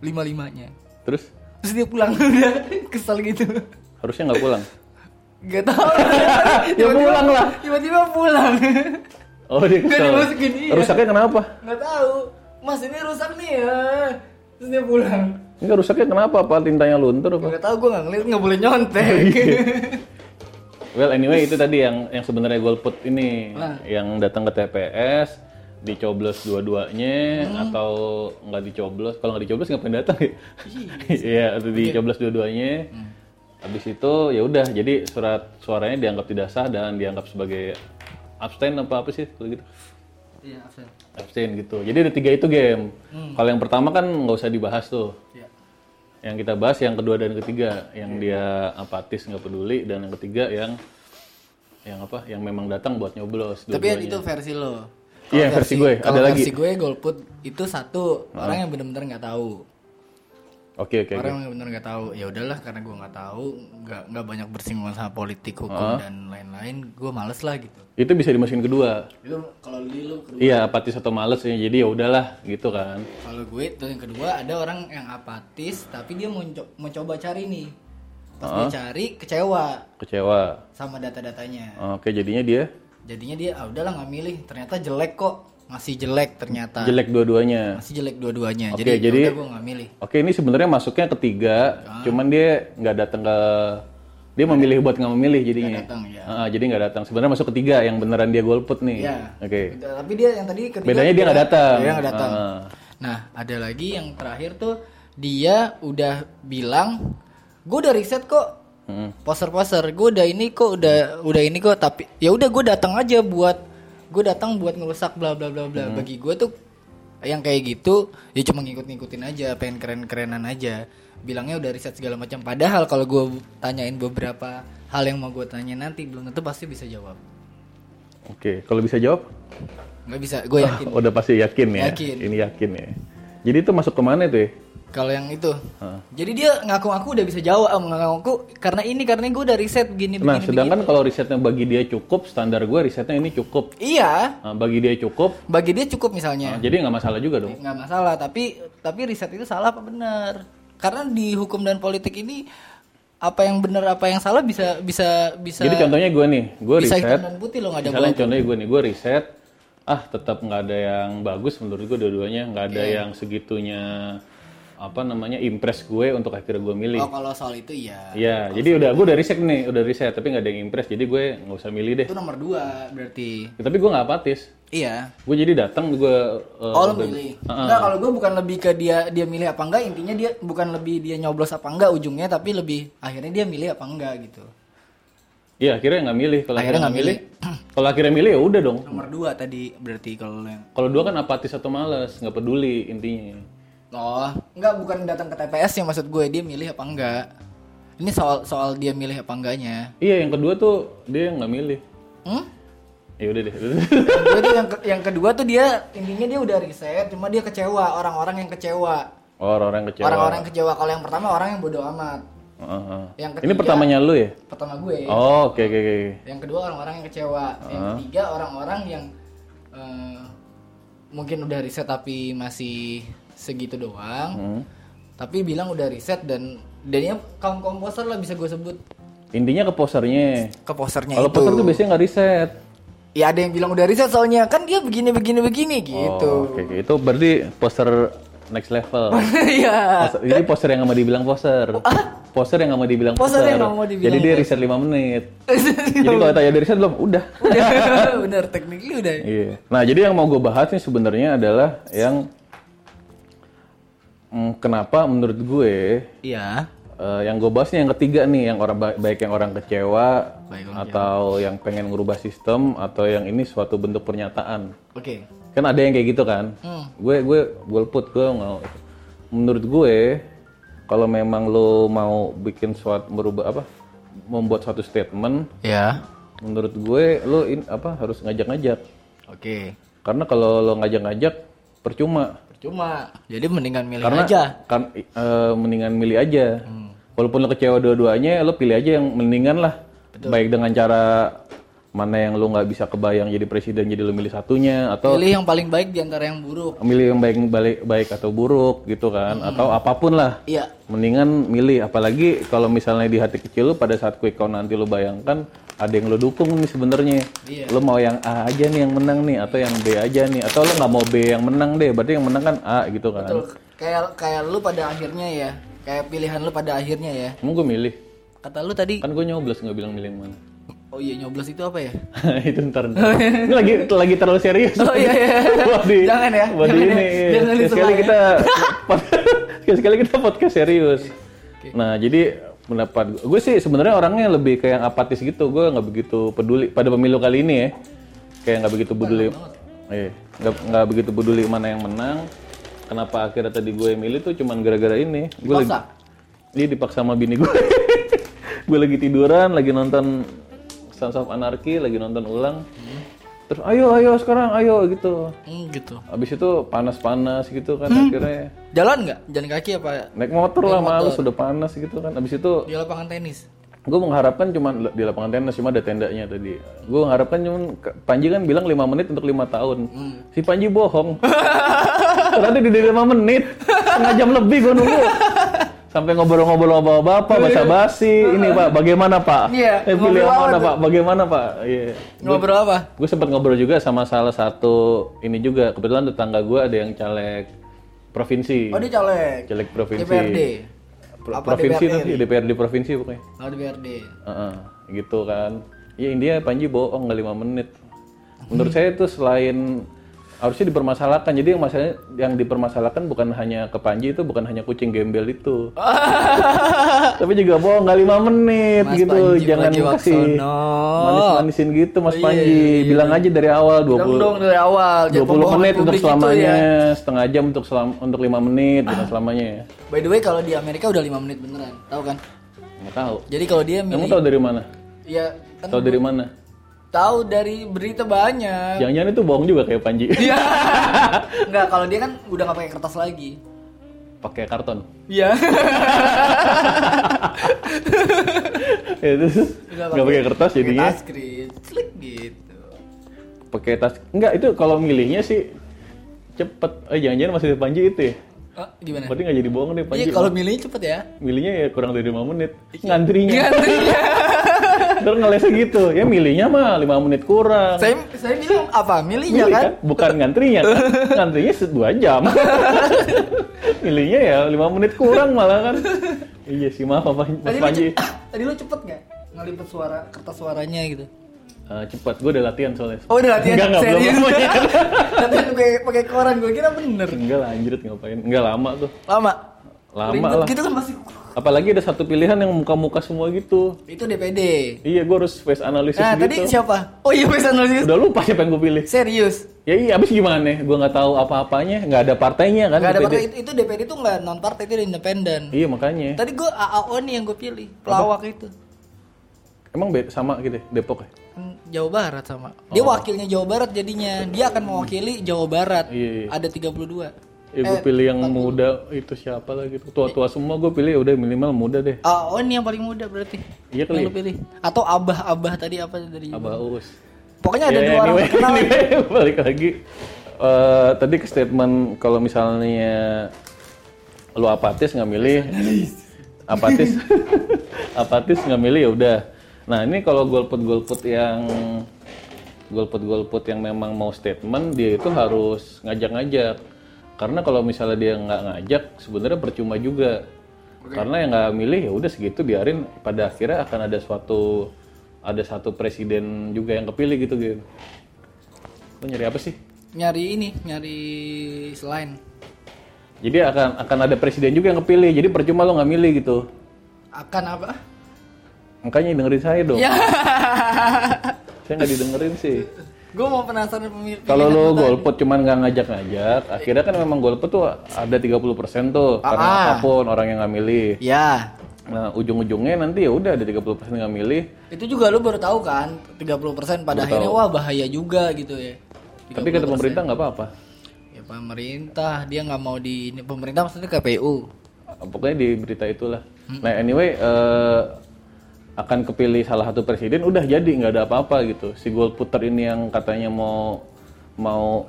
Speaker 3: lima-limanya.
Speaker 1: terus
Speaker 3: Terus dia pulang udah kesel gitu.
Speaker 1: harusnya nggak pulang.
Speaker 3: Gak tau.
Speaker 1: Ya pulang lah.
Speaker 3: Tiba-tiba pulang.
Speaker 1: Oh dia
Speaker 3: Nggak
Speaker 1: kesel.
Speaker 3: dimasukin, iya.
Speaker 1: Rusaknya kenapa?
Speaker 3: Gak tahu. Mas ini rusak nih ya. Terus dia pulang.
Speaker 1: Enggak rusaknya kenapa? Apa tintanya luntur apa?
Speaker 3: Gak tau gue gak ngeliat gak boleh nyontek.
Speaker 1: Iya. Well anyway itu tadi yang yang sebenarnya golput ini
Speaker 3: Nah.
Speaker 1: yang datang ke TPS dicoblos dua-duanya atau nggak dicoblos kalau nggak dicoblos ngapain datang ya iya atau dicoblos dua-duanya habis itu ya udah jadi surat suaranya dianggap tidak sah dan dianggap sebagai abstain apa apa sih kalau gitu
Speaker 3: Iya, absen.
Speaker 1: abstain gitu jadi ada tiga itu game kalau yang pertama kan nggak usah dibahas tuh
Speaker 3: Hmm. Iya.
Speaker 1: yang kita bahas yang kedua dan ketiga yang dia apatis nggak peduli dan yang ketiga yang yang apa yang memang datang buat nyoblos
Speaker 3: Tapi ya
Speaker 1: dua-duanya.
Speaker 3: itu versi lo.
Speaker 1: Iya,
Speaker 3: Kalau
Speaker 1: versi gue.
Speaker 3: kalau
Speaker 1: Ada lagi.
Speaker 3: Versi gue golput itu satu orang yang benar-benar nggak tahu.
Speaker 1: oke oke oke.
Speaker 3: Orang yang benar nggak tahu. Ya udahlah karena gue nggak tahu, nggak nggak banyak bersinggungan sama politik, hukum
Speaker 1: Ah.
Speaker 3: dan lain-lain. Gue males lah gitu.
Speaker 1: itu bisa dimasukin kedua
Speaker 3: Itu kalau li lu kedua.
Speaker 1: iya apatis atau males ya jadi ya udahlah gitu kan
Speaker 3: Kalau gue itu yang kedua ada orang yang apatis tapi dia mau co- mau coba cari nih.
Speaker 1: Ah.
Speaker 3: Pas dia cari kecewa
Speaker 1: kecewa
Speaker 3: sama data-datanya.
Speaker 1: oke jadinya dia
Speaker 3: Jadinya dia ah udahlah nggak milih. Ternyata jelek kok. Masih jelek ternyata.
Speaker 1: jelek dua-duanya
Speaker 3: Masih jelek
Speaker 1: Oke,
Speaker 3: dua-duanya. jadi "Ya
Speaker 1: jadi-
Speaker 3: udah gue nggak milih.
Speaker 1: oke ini sebenarnya masuknya ketiga
Speaker 3: Ah.
Speaker 1: cuman dia nggak datang ke dia memilih buat nggak memilih jadinya
Speaker 3: datang, ya.
Speaker 1: Ah, jadi nggak datang sebenarnya masuk ketiga yang beneran dia golput nih
Speaker 3: Iya.
Speaker 1: oke
Speaker 3: Tapi dia yang tadi ketika
Speaker 1: bedanya dia nggak datang
Speaker 3: Dia nggak datang.
Speaker 1: Ah.
Speaker 3: Nah, ada lagi yang terakhir tuh dia udah bilang, gue udah riset kok
Speaker 1: Mm.
Speaker 3: poster-poster, gue udah ini kok udah udah ini kok tapi ya udah gue datang aja buat gue datang buat ngerusak bla bla bla bla. Bagi gue tuh yang kayak gitu ya cuma ngikut-ngikutin aja, pengen keren-kerenan aja. Bilangnya udah riset segala macam. Padahal kalau gue tanyain beberapa hal yang mau gue tanya nanti belum tentu pasti bisa jawab.
Speaker 1: Oke, kalau bisa jawab,
Speaker 3: Nggak bisa, gue yakin.
Speaker 1: udah pasti yakin ya.
Speaker 3: Yakin.
Speaker 1: Ini yakin ya. Jadi itu masuk kemana tuh? Ya? Ah.
Speaker 3: Kalau yang itu.
Speaker 1: Hah.
Speaker 3: Jadi dia ngaku-ngaku udah bisa jawab, ah, ngaku-ngaku karena ini karena gue udah riset begini
Speaker 1: Nah,
Speaker 3: begini.
Speaker 1: sedangkan kalau risetnya bagi dia cukup, standar gue risetnya ini cukup.
Speaker 3: begini. Iya,
Speaker 1: Nah, bagi dia cukup,
Speaker 3: bagi dia cukup
Speaker 1: nah,
Speaker 3: misalnya.
Speaker 1: jadi nggak masalah juga dong.
Speaker 3: Nggak masalah, tapi tapi riset itu salah apa benar? Karena di hukum dan politik ini apa yang benar apa yang salah bisa bisa bisa
Speaker 1: Jadi contohnya gue nih, gue
Speaker 3: bisa
Speaker 1: riset.
Speaker 3: hitam dan putih loh nggak ada
Speaker 1: Misalnya
Speaker 3: bola.
Speaker 1: contohnya gue nih, gue riset. Ah, tetap nggak ada yang bagus menurut gue dua-duanya. Nggak
Speaker 3: Ya.
Speaker 1: ada yang segitunya apa namanya impress gue untuk akhirnya gue milih.
Speaker 3: Oh, kalau soal itu iya.
Speaker 1: Iya, jadi udah gue udah riset nih, udah riset, tapi nggak ada yang impress, jadi gue nggak usah milih deh.
Speaker 3: Itu nomor dua berarti.
Speaker 1: Ya, tapi gue nggak apatis.
Speaker 3: Iya.
Speaker 1: gue jadi datang gue uh,
Speaker 3: Oh, lo
Speaker 1: udah-
Speaker 3: milih. Enggak, kalau gue bukan lebih ke dia dia milih apa enggak, intinya dia bukan lebih dia nyoblos apa enggak ujungnya, tapi lebih akhirnya dia milih apa enggak gitu.
Speaker 1: iya akhirnya nggak milih kalau
Speaker 3: Akhirnya nggak milih.
Speaker 1: kalau akhirnya milih ya udah dong
Speaker 3: Nomor dua tadi berarti kalau lo yang
Speaker 1: kalau dua kan apatis atau malas nggak peduli intinya
Speaker 3: Oh, enggak bukan datang ke TPS yang maksud gue dia milih apa enggak. Ini soal soal dia milih apa enggaknya.
Speaker 1: iya yang kedua tuh dia nggak milih
Speaker 3: Hmm?
Speaker 1: Ya udah deh.
Speaker 3: Gua tuh yang ke- yang kedua tuh dia intinya dia udah riset, cuma dia kecewa orang-orang yang kecewa.
Speaker 1: Oh, orang-orang kecewa.
Speaker 3: Orang-orang yang kecewa kalau yang pertama orang yang bodoh amat.
Speaker 1: Heeh, heeh.
Speaker 3: Yang
Speaker 1: Ini
Speaker 3: ketiga- Iya.
Speaker 1: pertamanya lu ya?
Speaker 3: Pertama gue.
Speaker 1: Oh, Uh-huh. oke oke oke.
Speaker 3: Yang kedua orang-orang yang kecewa. Yang ketiga orang-orang yang eh, mungkin udah riset tapi masih segitu doang.
Speaker 1: Hmm.
Speaker 3: Tapi bilang udah riset dan dan ya kaum komposer lah bisa gue sebut
Speaker 1: Intinya ke posernya.
Speaker 3: ke posternya
Speaker 1: Kalau poser tuh biasanya nggak riset.
Speaker 3: Ya ada yang bilang udah riset soalnya kan dia begini begini begini
Speaker 1: Oh,
Speaker 3: gitu.
Speaker 1: oke oke. Itu berarti poster next level.
Speaker 3: Iya.
Speaker 1: Poster- Jadi poser yang nggak mau dibilang poser. Poser yang nggak mau dibilang
Speaker 3: Poser
Speaker 1: poser.
Speaker 3: yang nggak mau dibilang
Speaker 1: Jadi dia riset 5 menit. Jadi kalau tanya dari riset belum, udah.
Speaker 3: Udah, bener tekniknya udah.
Speaker 1: Iya. Nah, jadi yang mau gue bahas nih sebenarnya adalah yang mm, kenapa menurut gue
Speaker 3: Iya.
Speaker 1: eh, yang gue bahas nih yang ketiga nih, yang orang ba- baik yang orang kecewa
Speaker 3: Baik orang
Speaker 1: atau yang pengen ngerubah sistem atau yang ini suatu bentuk pernyataan.
Speaker 3: Oke.
Speaker 1: Kan ada yang kayak gitu kan? Gue gue golput gue mau menurut gue kalau memang lo mau bikin suatu merubah apa membuat suatu statement
Speaker 3: Ya.
Speaker 1: menurut gue lo in, apa harus ngajak-ngajak
Speaker 3: Oke.
Speaker 1: karena kalau lo ngajak-ngajak percuma.
Speaker 3: Percuma. Jadi mendingan milih
Speaker 1: Karena
Speaker 3: aja.
Speaker 1: kan eh, mendingan milih aja. Walaupun lo kecewa dua-duanya, lo pilih aja yang mendingan lah. Baik dengan cara mana yang lo nggak bisa kebayang jadi presiden jadi lo milih satunya atau
Speaker 3: Pilih yang paling baik di antara yang buruk.
Speaker 1: milih yang baik baik baik atau buruk gitu kan
Speaker 3: Hmm.
Speaker 1: atau apapun lah.
Speaker 3: Iya.
Speaker 1: Mendingan milih apalagi kalau misalnya di hati kecil lo pada saat quick count nanti lo bayangkan ada yang lo dukung nih sebenarnya.
Speaker 3: Iya.
Speaker 1: Lo mau yang A aja nih yang menang nih atau yang B aja nih atau lo nggak mau B yang menang deh berarti yang menang kan A gitu kan.
Speaker 3: Betul. Kayak kayak lu pada akhirnya ya. Kayak pilihan lu pada akhirnya ya.
Speaker 1: Emang gue milih?
Speaker 3: Kata lu tadi,
Speaker 1: Kan gue nyoblos nggak bilang milih yang mana.
Speaker 3: oh iya nyoblos itu apa ya?
Speaker 1: itu ntar. ntar. Ini lagi lagi terlalu serius.
Speaker 3: iya. Oh iya iya.
Speaker 1: Buat di-
Speaker 3: Jangan ya,
Speaker 1: buat di
Speaker 3: jangan
Speaker 1: ini.
Speaker 3: ya, jangan
Speaker 1: Sekali- sekali
Speaker 3: disemai.
Speaker 1: kita sekali kita podcast serius. Nah jadi pendapat gue sih sebenarnya orangnya lebih kayak yang apatis gitu. Gue nggak begitu peduli pada pemilu kali ini ya. Kayak nggak begitu peduli. Eh, nggak nggak begitu peduli mana yang menang. Kenapa akhirnya tadi gue milih tuh cuman gara-gara ini. Gue lagi,
Speaker 3: Dipaksa?
Speaker 1: Iya dipaksa sama bini gue. gue lagi tiduran, lagi nonton Sons of Anarchy, lagi nonton ulang. Terus ayo ayo sekarang ayo gitu.
Speaker 3: Hmm, gitu.
Speaker 1: Abis itu panas-panas gitu kan
Speaker 3: Hmm.
Speaker 1: akhirnya
Speaker 3: Jalan nggak? Jalan kaki apa
Speaker 1: naik motor lah malu sudah panas gitu kan. Abis itu
Speaker 3: di lapangan tenis?
Speaker 1: gue mengharapkan cuman di lapangan tenis cuma ada tendanya tadi. Gue mengharapkan cuman Panji kan bilang 5 menit untuk lima tahun.
Speaker 3: Hmm.
Speaker 1: Si Panji bohong. Ternyata di 5 menit, setengah jam lebih gue nunggu. Sampai ngobrol-ngobrol sama bapak, bahasa basi. Ini pak, bagaimana pak?
Speaker 3: Iya,
Speaker 1: Eh, pilih
Speaker 3: ngobrol
Speaker 1: yang
Speaker 3: apa
Speaker 1: mana
Speaker 3: tuh?
Speaker 1: pak? Bagaimana pak? Iya.
Speaker 3: Ngobrol apa?
Speaker 1: Gue sempat ngobrol juga sama salah satu ini juga. Kebetulan tetangga gue ada yang caleg provinsi.
Speaker 3: Oh dia caleg.
Speaker 1: Caleg provinsi.
Speaker 3: DPRD.
Speaker 1: Pro-
Speaker 3: Apa
Speaker 1: provinsi
Speaker 3: DPRD?
Speaker 1: tapi DPRD provinsi pokoknya.
Speaker 3: Oh DPRD.
Speaker 1: Heeh, gitu kan. Ya India Panji bohong nggak lima menit. Menurut saya itu selain harusnya dipermasalahkan. Jadi yang masalahnya yang dipermasalahkan bukan hanya ke Panji itu bukan hanya kucing gembel itu. Tapi juga bohong nggak lima menit
Speaker 3: Mas
Speaker 1: gitu.
Speaker 3: Panji Oh, iya,
Speaker 1: Jangan kasih
Speaker 3: Pragiwaksono.
Speaker 1: manis-manisin gitu Mas Panji. Bilang aja dari awal 20
Speaker 3: Dong dong dari awal.
Speaker 1: 20
Speaker 3: jangan pembohongan
Speaker 1: menit untuk
Speaker 3: publik itu
Speaker 1: selamanya,
Speaker 3: ya.
Speaker 1: setengah jam untuk selam, untuk 5 menit dengan selamanya ya.
Speaker 3: By the way kalau di Amerika udah 5 menit beneran, tahu kan?
Speaker 1: Nggak tahu.
Speaker 3: Jadi kalau dia
Speaker 1: Kamu
Speaker 3: milih
Speaker 1: tahu dari mana?
Speaker 3: ya kan
Speaker 1: Tahu dari mana?
Speaker 3: tahu dari berita banyak.
Speaker 1: Jangan-jangan itu bohong juga kayak Panji.
Speaker 3: Iya.
Speaker 1: Ya.
Speaker 3: Enggak, kalau dia kan udah nggak pakai kertas lagi.
Speaker 1: pakai karton.
Speaker 3: Iya.
Speaker 1: Ya, terus nggak pakai kertas jadinya
Speaker 3: Kertas krim. Klik gitu.
Speaker 1: pakai tas. Enggak itu kalau milihnya sih cepet. Eh jangan-jangan masih di Panji itu ya?
Speaker 3: Oh, gimana?
Speaker 1: Berarti nggak jadi bohong deh Panji.
Speaker 3: Iya, kalau Iya. milih cepet ya.
Speaker 1: Milihnya ya kurang dari 5 menit. Ngantrinya.
Speaker 3: Gantinya.
Speaker 1: Terus ngelesnya gitu. Ya milihnya mah 5 menit kurang.
Speaker 3: saya saya milih apa? Milihnya
Speaker 1: Milih
Speaker 3: kan?
Speaker 1: Bukan ngantrinya kan. Ngantrinya se- dua jam. milihnya ya 5 menit kurang malah kan. Iya sih maaf Mas Mas
Speaker 3: Tadi lu,
Speaker 1: Panji.
Speaker 3: ce- tadi lu cepet nggak ngelipet suara kertas suaranya gitu?
Speaker 1: Eh, cepat, gue udah latihan soalnya.
Speaker 3: Oh udah latihan
Speaker 1: Enggak, enggak, belum
Speaker 3: serius.
Speaker 1: semuanya.
Speaker 3: latihan gue pakai koran gue kira bener.
Speaker 1: Enggak lah, anjrit ngapain. Enggak lama tuh.
Speaker 3: Lama.
Speaker 1: Lama
Speaker 3: Ribet
Speaker 1: lah.
Speaker 3: Gitu kan masih.
Speaker 1: Apalagi ada satu pilihan yang muka-muka semua gitu.
Speaker 3: Itu DPD.
Speaker 1: Iya, gue harus face analisis
Speaker 3: Nah
Speaker 1: gitu.
Speaker 3: tadi siapa? Oh iya pesan serius.
Speaker 1: Udah lupa siapa yang gue pilih.
Speaker 3: Serius.
Speaker 1: Ya iya, abis gimana? Gue nggak tahu apa-apanya, nggak ada partainya kan.
Speaker 3: Gak
Speaker 1: DPD.
Speaker 3: ada partai itu, itu DPD itu nggak non partai itu independen.
Speaker 1: Iya makanya.
Speaker 3: Tadi gue AAO nih yang gue pilih pelawak itu. Kan
Speaker 1: Emang be- sama gitu ya, Depok ya?
Speaker 3: Jawa Barat sama. Dia
Speaker 1: Oh.
Speaker 3: wakilnya Jawa Barat jadinya. Dia akan mewakili Jawa Barat.
Speaker 1: Iya, iya.
Speaker 3: Ada 32.
Speaker 1: Ya, gue pilih yang muda itu siapa lagi tua-tua semua gue pilih ya udah minimal muda deh
Speaker 3: Ah, oh ini yang paling muda berarti.
Speaker 1: Iya kali.
Speaker 3: Yang lu pilih. Atau abah-abah tadi apa dari
Speaker 1: abah Uus
Speaker 3: Pokoknya ada
Speaker 1: Ya,
Speaker 3: dua orang
Speaker 1: anyway,
Speaker 3: terkenal.
Speaker 1: anyway, balik lagi Eh, tadi ke statement kalau misalnya lu apatis nggak milih apatis apatis nggak milih ya udah nah ini kalau golput golput yang golput golput yang memang mau statement dia itu harus ngajak-ngajak karena kalau misalnya dia nggak ngajak sebenarnya percuma juga karena yang nggak milih ya udah segitu biarin pada akhirnya akan ada suatu ada satu presiden juga yang kepilih gitu gitu lu nyari apa sih
Speaker 3: Nyari ini, nyari selain.
Speaker 1: jadi akan akan ada presiden juga yang kepilih jadi percuma lo nggak milih gitu
Speaker 3: Akan apa?
Speaker 1: makanya dengerin saya dong
Speaker 3: Ya.
Speaker 1: saya nggak didengerin sih
Speaker 3: Gue mau penasaran pemilih.
Speaker 1: kalau lo golput cuman nggak ngajak-ngajak akhirnya kan memang golput tuh ada 30% tuh karena
Speaker 3: Ah.
Speaker 1: apapun orang yang nggak milih
Speaker 3: Ya.
Speaker 1: nah ujung-ujungnya nanti ya udah ada 30% yang nggak milih
Speaker 3: Itu juga lu baru tahu kan 30% pada akhirnya wah bahaya juga gitu ya.
Speaker 1: tapi kata pemerintah nggak apa-apa
Speaker 3: Ya pemerintah dia nggak mau di ini pemerintah maksudnya KPU.
Speaker 1: pokoknya di berita itulah nah anyway eh, akan kepilih salah satu presiden udah jadi nggak ada apa-apa gitu si golputer ini yang katanya mau mau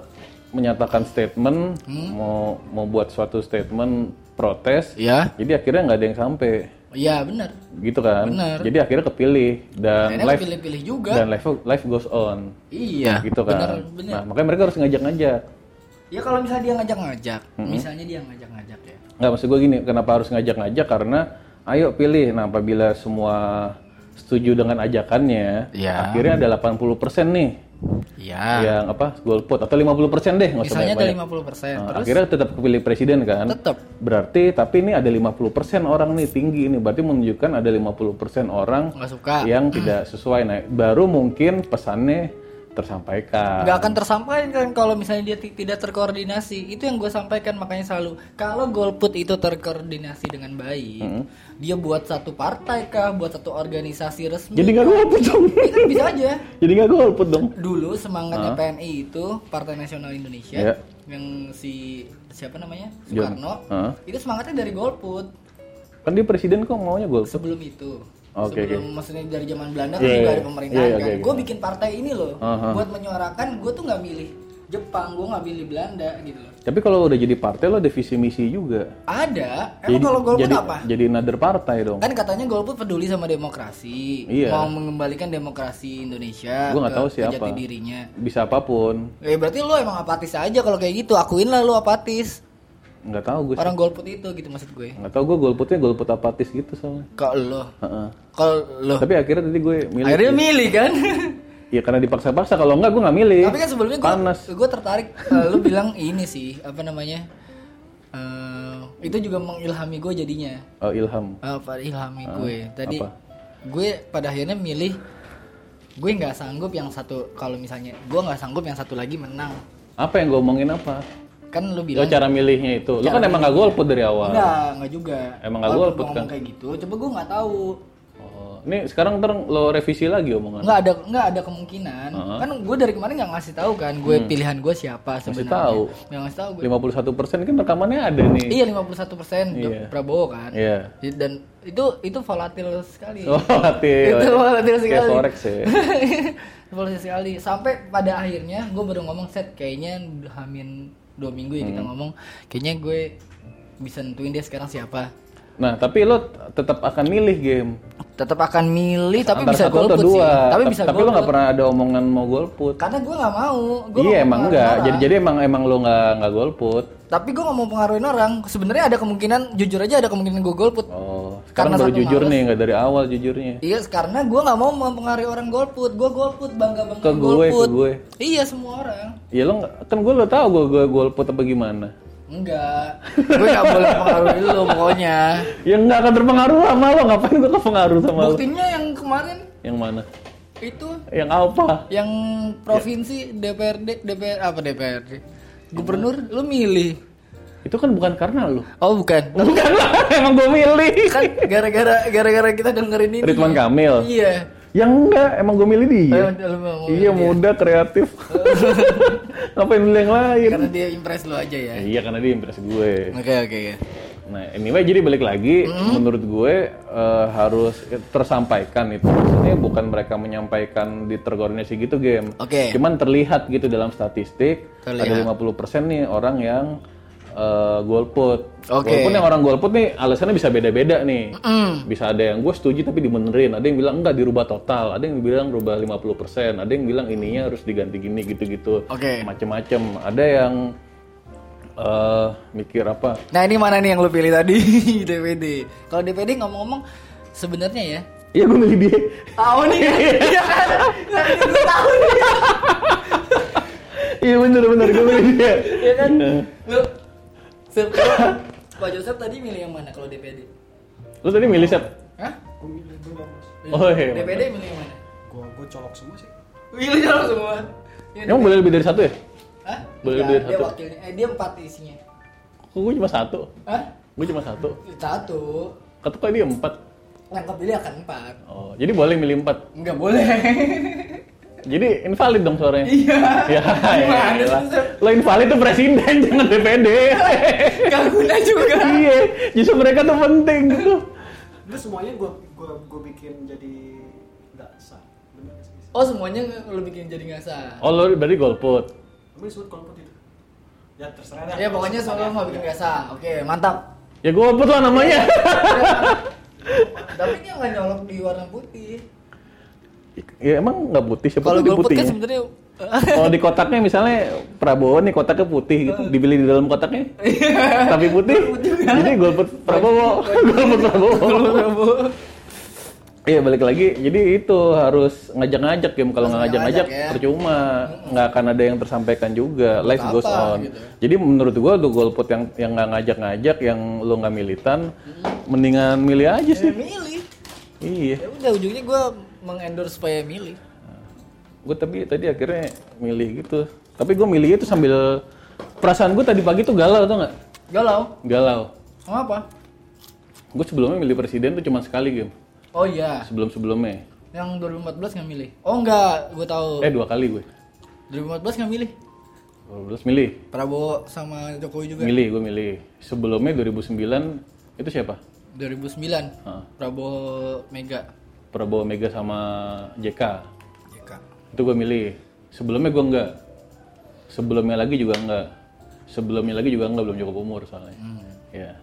Speaker 1: menyatakan statement
Speaker 3: Hmm?
Speaker 1: mau mau buat suatu statement protes
Speaker 3: Ya.
Speaker 1: jadi akhirnya nggak ada yang sampai
Speaker 3: Ya benar.
Speaker 1: gitu kan
Speaker 3: Bener.
Speaker 1: jadi akhirnya kepilih dan
Speaker 3: Akhirnya
Speaker 1: live
Speaker 3: pilih-pilih juga.
Speaker 1: dan life life goes on
Speaker 3: Iya.
Speaker 1: gitu kan
Speaker 3: Benar, benar.
Speaker 1: nah makanya mereka harus ngajak-ngajak
Speaker 3: Ya kalau misalnya dia ngajak-ngajak, misalnya dia ngajak-ngajak ya.
Speaker 1: nggak maksud gue gini kenapa harus ngajak-ngajak karena ayo pilih nah apabila semua setuju dengan ajakannya
Speaker 3: Iya.
Speaker 1: akhirnya ada 80% nih
Speaker 3: Iya.
Speaker 1: yang apa golput atau 50% deh nggak usah
Speaker 3: Misalnya ada
Speaker 1: banyak-banyak
Speaker 3: 50 persen,
Speaker 1: Nah, akhirnya tetap kepilih presiden kan
Speaker 3: tetap
Speaker 1: berarti tapi ini ada 50% orang nih tinggi ini berarti menunjukkan ada 50% orang
Speaker 3: nggak suka,
Speaker 1: yang tidak sesuai nah baru mungkin pesannya tersampaikan
Speaker 3: nggak akan tersampaikan kan kalau misalnya dia ti- tidak terkoordinasi. Itu yang gue sampaikan makanya selalu kalau golput itu terkoordinasi dengan baik, dia buat satu partai kah, buat satu organisasi resmi,
Speaker 1: jadi nggak golput dong
Speaker 3: itu kan bisa aja.
Speaker 1: jadi nggak golput dong
Speaker 3: Dulu semangatnya PNI itu Partai Nasional Indonesia
Speaker 1: Iya.
Speaker 3: yang si siapa namanya
Speaker 1: John.
Speaker 3: Soekarno
Speaker 1: Heeh.
Speaker 3: itu semangatnya dari golput.
Speaker 1: kan dia presiden kok maunya golput
Speaker 3: sebelum itu
Speaker 1: Oke,
Speaker 3: sebelum maksudnya dari zaman Belanda kan
Speaker 1: Iya,
Speaker 3: juga
Speaker 1: iya.
Speaker 3: ada pemerintahan
Speaker 1: Iya, iya,
Speaker 3: kan
Speaker 1: oke, oke.
Speaker 3: gue bikin partai ini loh
Speaker 1: Aha.
Speaker 3: buat menyuarakan gue tuh nggak milih Jepang gue nggak milih Belanda gitu loh
Speaker 1: tapi kalau udah jadi partai lo ada visi misi juga
Speaker 3: ada emang kalau golput
Speaker 1: jadi,
Speaker 3: apa
Speaker 1: jadi another partai dong
Speaker 3: kan katanya golput peduli sama demokrasi
Speaker 1: Iya.
Speaker 3: mau mengembalikan demokrasi Indonesia
Speaker 1: Gua nggak
Speaker 3: ke-
Speaker 1: tahu
Speaker 3: ke
Speaker 1: siapa.
Speaker 3: jati dirinya
Speaker 1: bisa apapun
Speaker 3: Eh berarti lo emang apatis aja kalau kayak gitu akuin lah lo apatis
Speaker 1: nggak tahu gue sih.
Speaker 3: orang golput itu gitu maksud gue
Speaker 1: nggak tahu gue golputnya golput apatis gitu soalnya
Speaker 3: kalau lo
Speaker 1: Heeh.
Speaker 3: kalau lo
Speaker 1: tapi akhirnya tadi gue milih
Speaker 3: akhirnya milih kan
Speaker 1: ya karena dipaksa-paksa kalau enggak gue nggak milih
Speaker 3: Tapi kan sebelumnya gue
Speaker 1: Panas.
Speaker 3: gue tertarik eh, lu bilang ini sih apa namanya eh, itu juga mengilhami gue jadinya
Speaker 1: Oh, ilham
Speaker 3: apa ilhami gue tadi
Speaker 1: apa?
Speaker 3: gue pada akhirnya milih gue nggak sanggup yang satu kalau misalnya gue nggak sanggup yang satu lagi menang
Speaker 1: apa yang gue omongin apa
Speaker 3: kan
Speaker 1: lo
Speaker 3: lu bilang
Speaker 1: cara milihnya itu lo kan emang nggak golput dari awal
Speaker 3: enggak enggak juga
Speaker 1: Emang nggak
Speaker 3: Walaupun
Speaker 1: golput
Speaker 3: gua
Speaker 1: kan?
Speaker 3: ngomong kayak gitu coba gue nggak tahu
Speaker 1: Oh, ini sekarang ntar lo revisi lagi omongan.
Speaker 3: nggak ada nggak ada kemungkinan kan gue dari kemarin nggak ngasih tahu kan gue pilihan gue siapa sebenarnya
Speaker 1: Hmm. tahu.
Speaker 3: nggak ngasih tahu gue
Speaker 1: 51% kan rekamannya ada nih.
Speaker 3: iya 51% persen
Speaker 1: Iya.
Speaker 3: Prabowo kan
Speaker 1: Iya.
Speaker 3: Jadi, dan itu itu volatil sekali
Speaker 1: Oh, hati.
Speaker 3: itu volatil
Speaker 1: Kayak
Speaker 3: sekali
Speaker 1: forex ya.
Speaker 3: volatil sekali sampai pada akhirnya gue baru ngomong set kayaknya hamin dua minggu ya
Speaker 1: Hmm.
Speaker 3: kita ngomong kayaknya gue bisa nentuin dia sekarang siapa
Speaker 1: Nah, tapi lo t- tetap akan milih game.
Speaker 3: tetap akan milih tapi
Speaker 1: Antara
Speaker 3: bisa
Speaker 1: satu atau
Speaker 3: golput sih
Speaker 1: dua.
Speaker 3: tapi
Speaker 1: Ta-
Speaker 3: bisa
Speaker 1: tapi lo nggak
Speaker 3: golput
Speaker 1: pernah ada omongan mau golput.
Speaker 3: karena gue nggak mau gue
Speaker 1: Iya, emang enggak. Jadi jadi emang emang lo nggak nggak golput.
Speaker 3: tapi gue nggak mau pengaruhin orang sebenarnya ada kemungkinan jujur aja ada kemungkinan gue golput
Speaker 1: Oh, sekarang
Speaker 3: Karena
Speaker 1: baru
Speaker 3: satu
Speaker 1: jujur
Speaker 3: males.
Speaker 1: nih, nggak dari awal jujurnya.
Speaker 3: Iya, karena gue nggak mau mempengaruhi orang golput. Gue golput bangga bangga
Speaker 1: Ke gue, ke gue.
Speaker 3: Iya semua orang.
Speaker 1: Ya lo nggak- kan gue lo tahu gue gue golput apa gimana.
Speaker 3: Enggak, gue nggak boleh mempengaruhi lo pokoknya.
Speaker 1: Ya nggak akan terpengaruh sama lo. Ngapain gue kepengaruh sama lo?
Speaker 3: Buktinya yang kemarin
Speaker 1: Yang mana?
Speaker 3: itu
Speaker 1: Yang apa?
Speaker 3: yang provinsi DPRD DPR apa DPRD gubernur lu milih.
Speaker 1: Itu kan bukan karena lo.
Speaker 3: Oh bukan.
Speaker 1: Bukan lah, emang gue milih.
Speaker 3: Kan gara-gara gara-gara kita dengerin ini.
Speaker 1: Ridwan Kamil.
Speaker 3: Iya.
Speaker 1: Yang enggak, emang gue milih dia.
Speaker 3: Eh, lu mau-
Speaker 1: iya, muda, kreatif. Ngapain milih yang lain?
Speaker 3: Karena dia impress lu aja ya.
Speaker 1: Iya, karena dia impress gue.
Speaker 3: Oke oke ya.
Speaker 1: Nah, anyway, jadi balik lagi,
Speaker 3: Mm-hmm.
Speaker 1: menurut gue eh, harus tersampaikan itu. Maksudnya bukan mereka menyampaikan di terkoordinasi gitu game.
Speaker 3: Oke.
Speaker 1: Cuman terlihat gitu dalam statistik, ada 50% nih orang yang eh, golput.
Speaker 3: Oke.
Speaker 1: Walaupun yang orang golput nih alasannya bisa beda-beda nih. Bisa ada yang gue setuju tapi dimenerin, ada yang bilang enggak dirubah total, ada yang bilang rubah 50%, ada yang bilang ininya harus diganti gini gitu-gitu.
Speaker 3: Oke.
Speaker 1: Macem-macem. Ada yang eh mikir apa?
Speaker 3: Nah ini mana nih yang lu pilih tadi DPD? Kalau DPD ngomong-ngomong sebenarnya ya
Speaker 1: Iya gue milih dia.
Speaker 3: tahu nih kan? Iya kan? Nah, ini gua tahu nih.
Speaker 1: Iya bener bener gue milih dia.
Speaker 3: Iya kan? Lu Sep, Pak Joseph tadi milih yang mana kalau DPD?
Speaker 1: Lu tadi milih siapa?
Speaker 3: Hah?
Speaker 2: Gue milih dua mas.
Speaker 1: Oh, iya,
Speaker 3: DPD milih yang mana?
Speaker 2: Gue gue colok semua sih.
Speaker 3: Milih jalan semua. Ya,
Speaker 1: Emang boleh lebih dari satu ya?
Speaker 3: Hah?
Speaker 1: boleh
Speaker 3: Enggak,
Speaker 1: duit
Speaker 3: dia
Speaker 1: satu.
Speaker 3: wakilnya. Eh dia empat isinya.
Speaker 1: Kok gue cuma satu?
Speaker 3: Hah?
Speaker 1: Gue cuma satu.
Speaker 3: Satu.
Speaker 1: Kata kok dia empat.
Speaker 3: Yang kepilih akan empat.
Speaker 1: Oh, jadi boleh milih empat.
Speaker 3: Enggak boleh.
Speaker 1: Jadi invalid dong suaranya.
Speaker 3: Iya.
Speaker 1: Ya,
Speaker 3: Gimana sih,
Speaker 1: elah.
Speaker 3: Sep?
Speaker 1: Lo invalid tuh presiden, jangan DPD.
Speaker 3: Gak guna juga.
Speaker 1: Iya, justru mereka tuh penting gitu.
Speaker 2: Lu semuanya gue gue gue bikin jadi nggak sah. Bener nggak sih?
Speaker 3: Oh semuanya lu bikin jadi nggak sah.
Speaker 1: Oh, lo berarti golput.
Speaker 2: Tapi disebut golput itu. Ya terserah dah.
Speaker 3: Ya pokoknya soalnya mau bikin nggak sah. Oke mantap.
Speaker 1: Ya golput lah namanya.
Speaker 3: Tapi dia nggak nyolok di warna putih.
Speaker 1: Ya emang nggak putih ya? siapa
Speaker 3: Iya. Kalau
Speaker 1: tuh di
Speaker 3: golput
Speaker 1: putihnya?
Speaker 3: kan sebenarnya
Speaker 1: Kalau di kotaknya misalnya Prabowo nih kotaknya putih gitu, dibeli di dalam kotaknya. Tapi putih. Jadi golput Prabowo, golput Prabowo. Iya balik lagi, jadi itu harus ngajak-ngajak game kalau nggak
Speaker 3: Harus
Speaker 1: ngajak-ngajak
Speaker 3: ngajak ya.
Speaker 1: percuma, nggak akan ada yang tersampaikan juga. Life
Speaker 3: Apa,
Speaker 1: goes on.
Speaker 3: gitu.
Speaker 1: Jadi menurut gua tuh golput yang yang nggak ngajak-ngajak, yang lu nggak militan, mendingan milih aja
Speaker 3: ya
Speaker 1: sih.
Speaker 3: milih.
Speaker 1: Iya,
Speaker 3: Ya udah ujungnya gue mengendorse supaya milih.
Speaker 1: gue tapi tadi akhirnya milih gitu. Tapi gue milih itu sambil perasaan gue tadi pagi tuh galau tau nggak?
Speaker 3: Galau.
Speaker 1: Galau.
Speaker 3: Sama apa?
Speaker 1: Gue sebelumnya milih presiden tuh cuma sekali game.
Speaker 3: Oh iya,
Speaker 1: Sebelum sebelumnya.
Speaker 3: yang 2014 nggak milih. Oh enggak, gue tahu.
Speaker 1: Eh dua kali gue.
Speaker 3: 2014 nggak milih.
Speaker 1: 12 milih.
Speaker 3: Prabowo sama Jokowi juga.
Speaker 1: Milih gue milih. Sebelumnya 2009 itu siapa?
Speaker 3: 2009
Speaker 1: Hah,
Speaker 3: Prabowo Mega.
Speaker 1: Prabowo Mega sama JK.
Speaker 2: Jika.
Speaker 1: Itu gue milih. Sebelumnya gue enggak. Sebelumnya lagi juga enggak. Sebelumnya lagi juga enggak belum cukup umur soalnya.
Speaker 3: Hmm.
Speaker 1: Ya.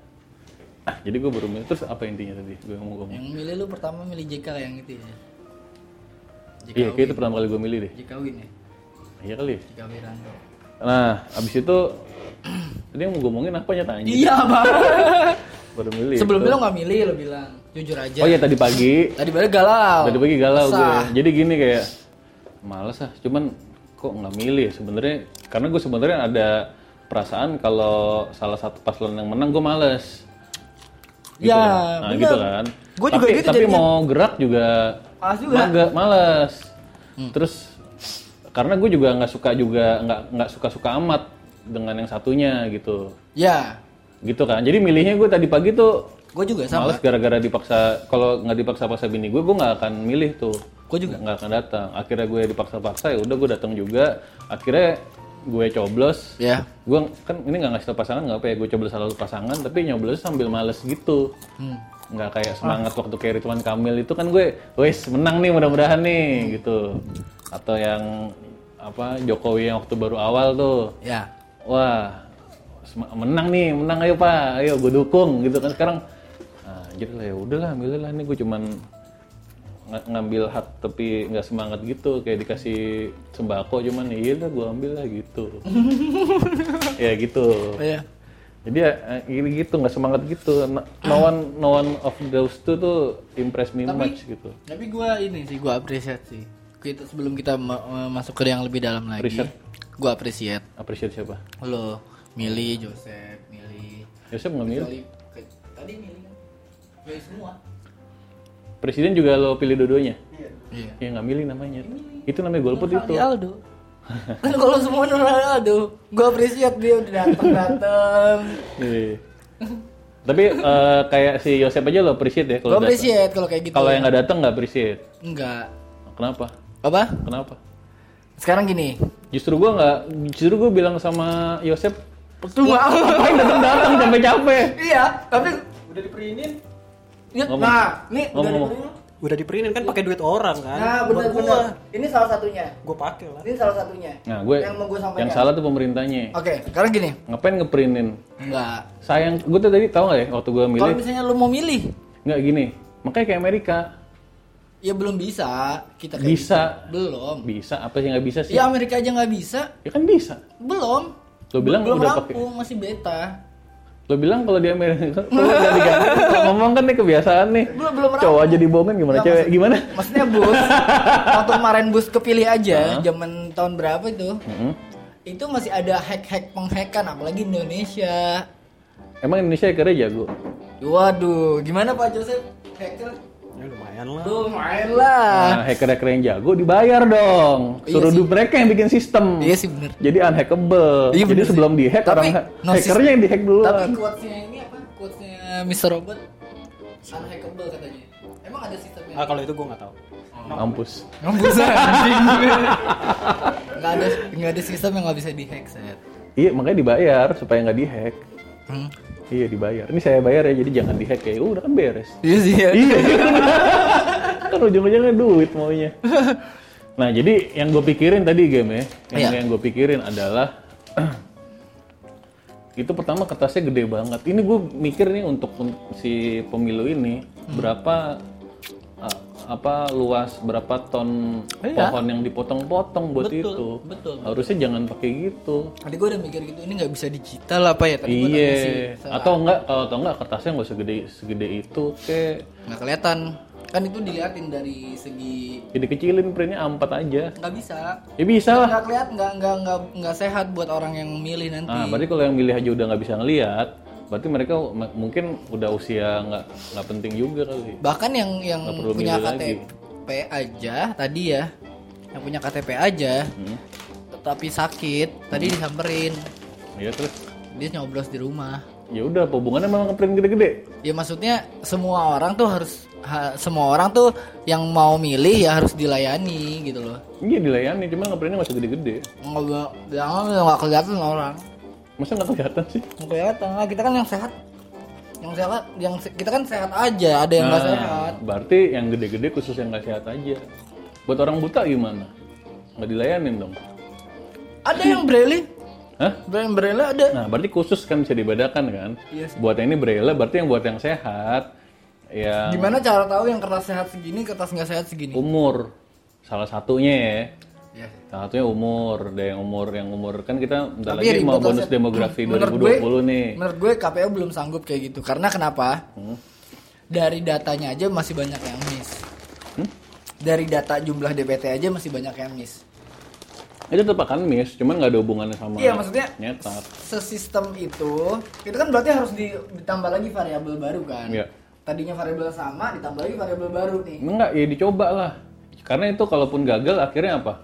Speaker 1: Ah, jadi gue baru milih. Terus apa intinya tadi? Gue ngomong ngomong.
Speaker 3: Yang milih lu pertama milih JK yang itu ya. JK
Speaker 1: Iya, kayak itu pertama kali gue milih deh.
Speaker 3: JK Win ya.
Speaker 1: Iya kali.
Speaker 3: JK Wiranto.
Speaker 1: Nah, abis itu tadi yang mau ngomongin apa ya tanya?
Speaker 3: Iya, Bang.
Speaker 1: Baru milih.
Speaker 3: Sebelum
Speaker 1: itu.
Speaker 3: lu nggak milih lu bilang. Jujur aja.
Speaker 1: Gitu. Oh iya tadi pagi,
Speaker 3: Tadi baru galau.
Speaker 1: tadi pagi galau gue.
Speaker 3: Resah.
Speaker 1: Jadi gini kayak males ah, cuman kok nggak milih ya? sebenarnya karena gue sebenarnya ada perasaan kalau salah satu paslon yang menang gue males. Gitu kan.
Speaker 3: Ya,
Speaker 1: nah,
Speaker 3: bener.
Speaker 1: gitu kan.
Speaker 3: Gua juga
Speaker 1: tapi,
Speaker 3: gitu
Speaker 1: tapi
Speaker 3: jadinya.
Speaker 1: mau gerak juga
Speaker 3: Males juga.
Speaker 1: maga- males. Terus karena gue juga nggak suka juga nggak nggak suka-suka amat dengan yang satunya gitu.
Speaker 3: Ya.
Speaker 1: Gitu kan. Jadi milihnya gue tadi pagi tuh
Speaker 3: Gue juga sama.
Speaker 1: Males gara-gara dipaksa kalau nggak dipaksa-paksa bini gue, gue nggak akan milih tuh.
Speaker 3: Gua juga.
Speaker 1: nggak akan datang. Akhirnya gue dipaksa-paksa ya udah gue datang juga. Akhirnya gue coblos.
Speaker 3: Ya.
Speaker 1: Gue kan ini nggak ngasih tau pasangan nggak apa ya gue coblos salah satu pasangan, tapi nyoblos sambil males gitu.
Speaker 3: Hmm.
Speaker 1: Nggak kayak
Speaker 3: Ah.
Speaker 1: semangat waktu kayak Ridwan Kamil itu kan gue, wes menang nih mudah-mudahan
Speaker 3: Hmm.
Speaker 1: nih gitu. Atau yang apa Jokowi yang waktu baru awal tuh
Speaker 3: Ya.
Speaker 1: wah sem- menang nih menang ayo pak ayo gue dukung gitu kan sekarang nah, jadi lah ya udahlah ambil lah ini gue cuman ng- ngambil hak tapi nggak semangat gitu kayak dikasih sembako cuman iya lah gue ambil lah gitu ya gitu
Speaker 3: Iya.
Speaker 1: jadi ya, eh, ini gitu nggak semangat gitu Na- no one no one of those two tuh impress me much gitu
Speaker 3: Tapi gue ini sih gue appreciate sih. Kita sebelum kita ma- ma- masuk ke yang lebih dalam lagi,
Speaker 1: Appreciate.
Speaker 3: gue appreciate
Speaker 1: appreciate siapa
Speaker 3: lo milih Joseph, milih
Speaker 1: Yosep Ya, nggak milih
Speaker 3: Kecuali- ke- tadi milih kan? milih semua.
Speaker 1: presiden juga lo pilih dua-duanya
Speaker 2: Iya.
Speaker 3: Iya.
Speaker 1: ya nggak milih namanya itu namanya golput
Speaker 3: Nur
Speaker 1: itu
Speaker 3: Ali Aldo. kan kalau semua Nur Ali Aldo, gue appreciate dia udah dateng dateng.
Speaker 1: Iya. Tapi eh, kayak si Yosep aja lo appreciate ya
Speaker 3: Gue
Speaker 1: kalau datang.
Speaker 3: appreciate kalau kayak gitu.
Speaker 1: Kalau yang nggak datang nggak appreciate.
Speaker 3: Enggak.
Speaker 1: Kenapa?
Speaker 3: Apa?
Speaker 1: Kenapa?
Speaker 3: Sekarang gini.
Speaker 1: Justru gua nggak, justru gua bilang sama Yosep,
Speaker 3: Percuma.
Speaker 1: ngapain datang datang capek capek.
Speaker 3: iya, tapi
Speaker 4: Udah diperinin.
Speaker 3: ya,
Speaker 1: Ngomong.
Speaker 3: nah, ini udah
Speaker 1: Ngomong-ngomong.
Speaker 3: dipenuhi.
Speaker 2: udah diperinin kan pakai duit orang kan
Speaker 3: Nah,
Speaker 2: Buat
Speaker 3: benar-benar. Ini salah satunya.
Speaker 2: gua gua pakai lah
Speaker 3: Ini salah satunya.
Speaker 1: Nah gue
Speaker 3: yang mau gue sampaikan.
Speaker 1: yang salah tuh pemerintahnya.
Speaker 3: Oke, sekarang gini.
Speaker 1: Ngapain ngeprintin?
Speaker 3: Enggak.
Speaker 1: Sayang, gue tuh tadi tahu nggak ya waktu gue
Speaker 3: Kalau
Speaker 1: milih
Speaker 3: misalnya lu mau milih,
Speaker 1: nggak gini. Makanya kayak Amerika
Speaker 3: ya belum bisa kita kayak
Speaker 1: Bisa.
Speaker 3: gitu. Belum.
Speaker 1: bisa apa sih nggak bisa sih?
Speaker 3: Ya Amerika aja nggak bisa.
Speaker 1: Ya kan bisa.
Speaker 3: Belum.
Speaker 1: Lo bilang
Speaker 3: belum
Speaker 1: udah pakai.
Speaker 3: rampung, masih beta.
Speaker 1: Lo bilang kalau di Amerika kalau udah diganti. Kalau ngomong kan nih kebiasaan nih.
Speaker 3: Belum belum rampung.
Speaker 1: Cowok aja dibohongin gimana
Speaker 3: Nggak,
Speaker 1: cewek
Speaker 3: Ya, maksud-
Speaker 1: gimana?
Speaker 3: Maksudnya bus. waktu kemarin bus kepilih aja, zaman tahun berapa itu?
Speaker 1: Mm-mm.
Speaker 3: Itu masih ada hack-hack penghackan apalagi Indonesia.
Speaker 1: Emang Indonesia kerja jago.
Speaker 3: Waduh, gimana Pak Joseph? Hacker?
Speaker 2: ya lumayan lah
Speaker 3: Duh, main lah.
Speaker 1: Nah, hacker-hacker yang jago dibayar dong.
Speaker 3: Ah. Iya
Speaker 1: Suruh
Speaker 3: sih.
Speaker 1: du- mereka yang bikin sistem.
Speaker 3: Iya sih bener.
Speaker 1: Jadi unhackable.
Speaker 3: Iya,
Speaker 1: Jadi
Speaker 3: bener sih.
Speaker 1: sebelum dihack
Speaker 3: Tapi,
Speaker 1: orang ha-
Speaker 3: no
Speaker 1: hackernya yang dihack dulu.
Speaker 3: Tapi quotes-nya ini apa? Quotes-nya Mr. Robot unhackable katanya. Emang ada sistemnya?
Speaker 2: ah kalau itu gua nggak tahu
Speaker 1: Mampus.
Speaker 3: Mampus anjing. Enggak ada enggak ada sistem yang nggak bisa dihack, set.
Speaker 1: Iya, makanya dibayar supaya nggak dihack.
Speaker 3: Hmm.
Speaker 1: Iya, dibayar. Ini saya bayar ya, jadi jangan dihack ya. Udah kan beres.
Speaker 3: Iya sih ya.
Speaker 1: Iya. kan ujung-ujungnya duit maunya. Nah, jadi yang gue pikirin tadi game ya. Yang,
Speaker 3: Iya.
Speaker 1: yang gue pikirin adalah itu pertama kertasnya gede banget. Ini gue mikir nih untuk untuk si pemilu ini
Speaker 3: Hmm.
Speaker 1: berapa a- apa luas berapa ton
Speaker 3: Iya.
Speaker 1: pohon yang dipotong-potong buat
Speaker 3: Betul,
Speaker 1: itu.
Speaker 3: betul.
Speaker 1: Harusnya jangan pakai gitu.
Speaker 3: Tadi gue udah mikir gitu, ini nggak bisa digital apa ya? Tadi gua nanya sih,
Speaker 1: Iya.
Speaker 3: salah.
Speaker 1: Atau enggak kalau atau enggak kertasnya nggak segede segede itu kayak
Speaker 3: nggak kelihatan. Kan itu diliatin dari segi
Speaker 1: jadi kecilin printnya A4 aja.
Speaker 3: nggak bisa.
Speaker 1: Ya bisa lah.
Speaker 3: Nggak kelihatan, nggak nggak nggak nggak sehat buat orang yang milih nanti.
Speaker 1: Nah, berarti kalau yang milih aja udah nggak bisa ngelihat, berarti mereka m- mungkin udah usia nggak nggak penting juga kali.
Speaker 3: Bahkan yang yang
Speaker 1: Nggak perlu
Speaker 3: punya
Speaker 1: milih lagi.
Speaker 3: KTP aja tadi ya, yang punya KTP aja,
Speaker 1: Hmm.
Speaker 3: tetapi sakit, tadi disamperin,
Speaker 1: Ya terus,
Speaker 3: dia nyoblos di rumah.
Speaker 1: ya udah apa hubungannya memang ngeprint gede-gede.
Speaker 3: Ya maksudnya semua orang tuh harus ha- semua orang tuh yang mau milih ya harus dilayani gitu loh.
Speaker 1: Iya dilayani, cuma ngeprintnya masih gede-gede.
Speaker 3: Nggak jangan nggak kelihatan orang.
Speaker 1: Masa nggak kelihatan sih?
Speaker 3: Nggak kelihatan lah. Kita kan yang sehat. Yang sehat, yang se- kita kan sehat aja. Ada yang nggak sehat.
Speaker 1: Nah, berarti yang gede-gede khusus yang nggak sehat aja. Buat orang buta gimana? Nggak dilayanin dong.
Speaker 3: Ada yang braille.
Speaker 1: Hah?
Speaker 3: Braille braille ada.
Speaker 1: Nah, berarti khusus kan bisa dibedakan kan?
Speaker 3: Iya
Speaker 1: Buat yang ini braille, berarti yang buat yang sehat, yang
Speaker 3: Gimana cara tahu yang kertas sehat segini, kertas nggak sehat
Speaker 1: Um,
Speaker 3: segini?
Speaker 1: umur salah satunya ya.
Speaker 3: Ya.
Speaker 1: Salah satunya umur, ada yang umur yang umur kan kita bentar
Speaker 3: Tapi ya
Speaker 1: lagi
Speaker 3: ribet
Speaker 1: mau
Speaker 3: lah,
Speaker 1: bonus
Speaker 3: Seth.
Speaker 1: demografi
Speaker 3: Menurut
Speaker 1: 2020
Speaker 3: gue-
Speaker 1: nih. Hmm.
Speaker 3: Menurut gue KPU belum sanggup kayak gitu. Karena kenapa? Dari datanya aja masih banyak yang miss.
Speaker 1: Hmm?
Speaker 3: Dari data jumlah DPT aja masih banyak yang miss.
Speaker 1: Itu tetap akan miss, cuman nggak ada hubungannya sama
Speaker 3: Iya, maksudnya-
Speaker 1: nyetak.
Speaker 3: Sesistem itu, itu kan berarti harus di- ditambah lagi variabel baru kan?
Speaker 1: Iya.
Speaker 3: Tadinya variabel sama, ditambah lagi variabel baru nih.
Speaker 1: Enggak, ya dicoba lah. Karena itu kalaupun gagal akhirnya apa?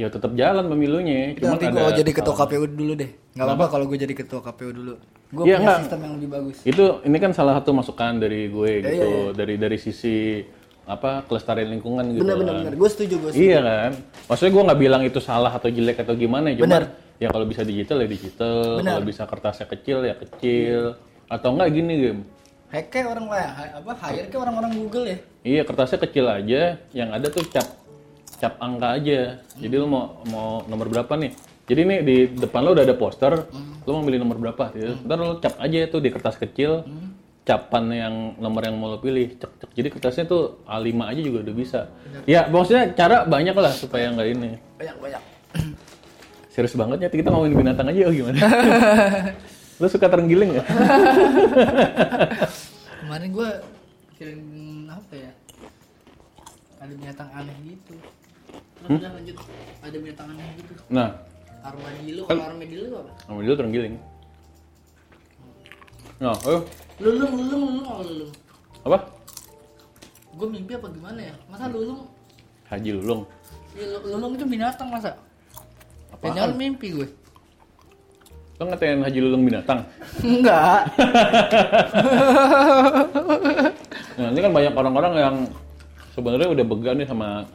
Speaker 1: Ya tetap jalan pemilunya, cuman
Speaker 3: Nanti
Speaker 1: ada
Speaker 3: gue jadi ketua KPU dulu deh. Gak apa-apa kalau gue jadi ketua KPU dulu. Gue
Speaker 1: Iya,
Speaker 3: punya
Speaker 1: nggak.
Speaker 3: sistem yang lebih bagus.
Speaker 1: Itu ini kan salah satu masukan dari gue
Speaker 3: Iya,
Speaker 1: gitu,
Speaker 3: iya,
Speaker 1: dari dari sisi apa kelestarian lingkungan gitu.
Speaker 3: Bener bener
Speaker 1: kan.
Speaker 3: bener. Gue setuju gue setuju.
Speaker 1: Iya kan? Maksudnya gue nggak bilang itu salah atau jelek atau gimana, cuma
Speaker 3: Benar.
Speaker 1: ya kalau bisa digital ya digital,
Speaker 3: Benar.
Speaker 1: kalau bisa kertasnya kecil ya kecil, atau enggak gini game.
Speaker 3: Hack kayak orang lah, ha- apa hire kayak orang-orang Google ya.
Speaker 1: Iya kertasnya kecil aja, yang ada tuh cap cap angka aja. Jadi lu mau mau nomor berapa nih? Jadi nih di depan lo udah ada poster,
Speaker 3: Hmm.
Speaker 1: lu mau milih nomor berapa? Gitu. Ntar lo cap aja tuh di kertas kecil,
Speaker 3: Hmm.
Speaker 1: capan yang nomor yang mau lo pilih. Cek, cek. Jadi kertasnya tuh A5 aja juga udah bisa. Ya maksudnya cara banyak lah supaya nggak ini.
Speaker 3: Banyak banyak.
Speaker 1: Serius banget ya, kita ngomongin binatang aja oh gimana? Lu suka terenggiling ya?
Speaker 3: Kemarin gue kirim apa ya? Ada binatang aneh gitu. Lanjut lanjut. Ada binatang aneh gitu.
Speaker 1: Nah,
Speaker 3: Armadillo, kalau armadillo itu apa?
Speaker 1: sama dulu terenggiling. Nah, eh,
Speaker 3: Lulung, lulung, lulung, apa lulung?
Speaker 1: apa?
Speaker 3: Gue mimpi apa gimana ya? Masa lulung?
Speaker 1: Haji Lulung.
Speaker 3: Ya, lu- lulung itu binatang masa?
Speaker 1: Apaan?
Speaker 3: Kayaknya lu mimpi gue.
Speaker 1: Lo ngatain Haji Lulung binatang?
Speaker 3: Enggak.
Speaker 1: Nah, ini kan banyak orang-orang yang sebenarnya udah bega nih sama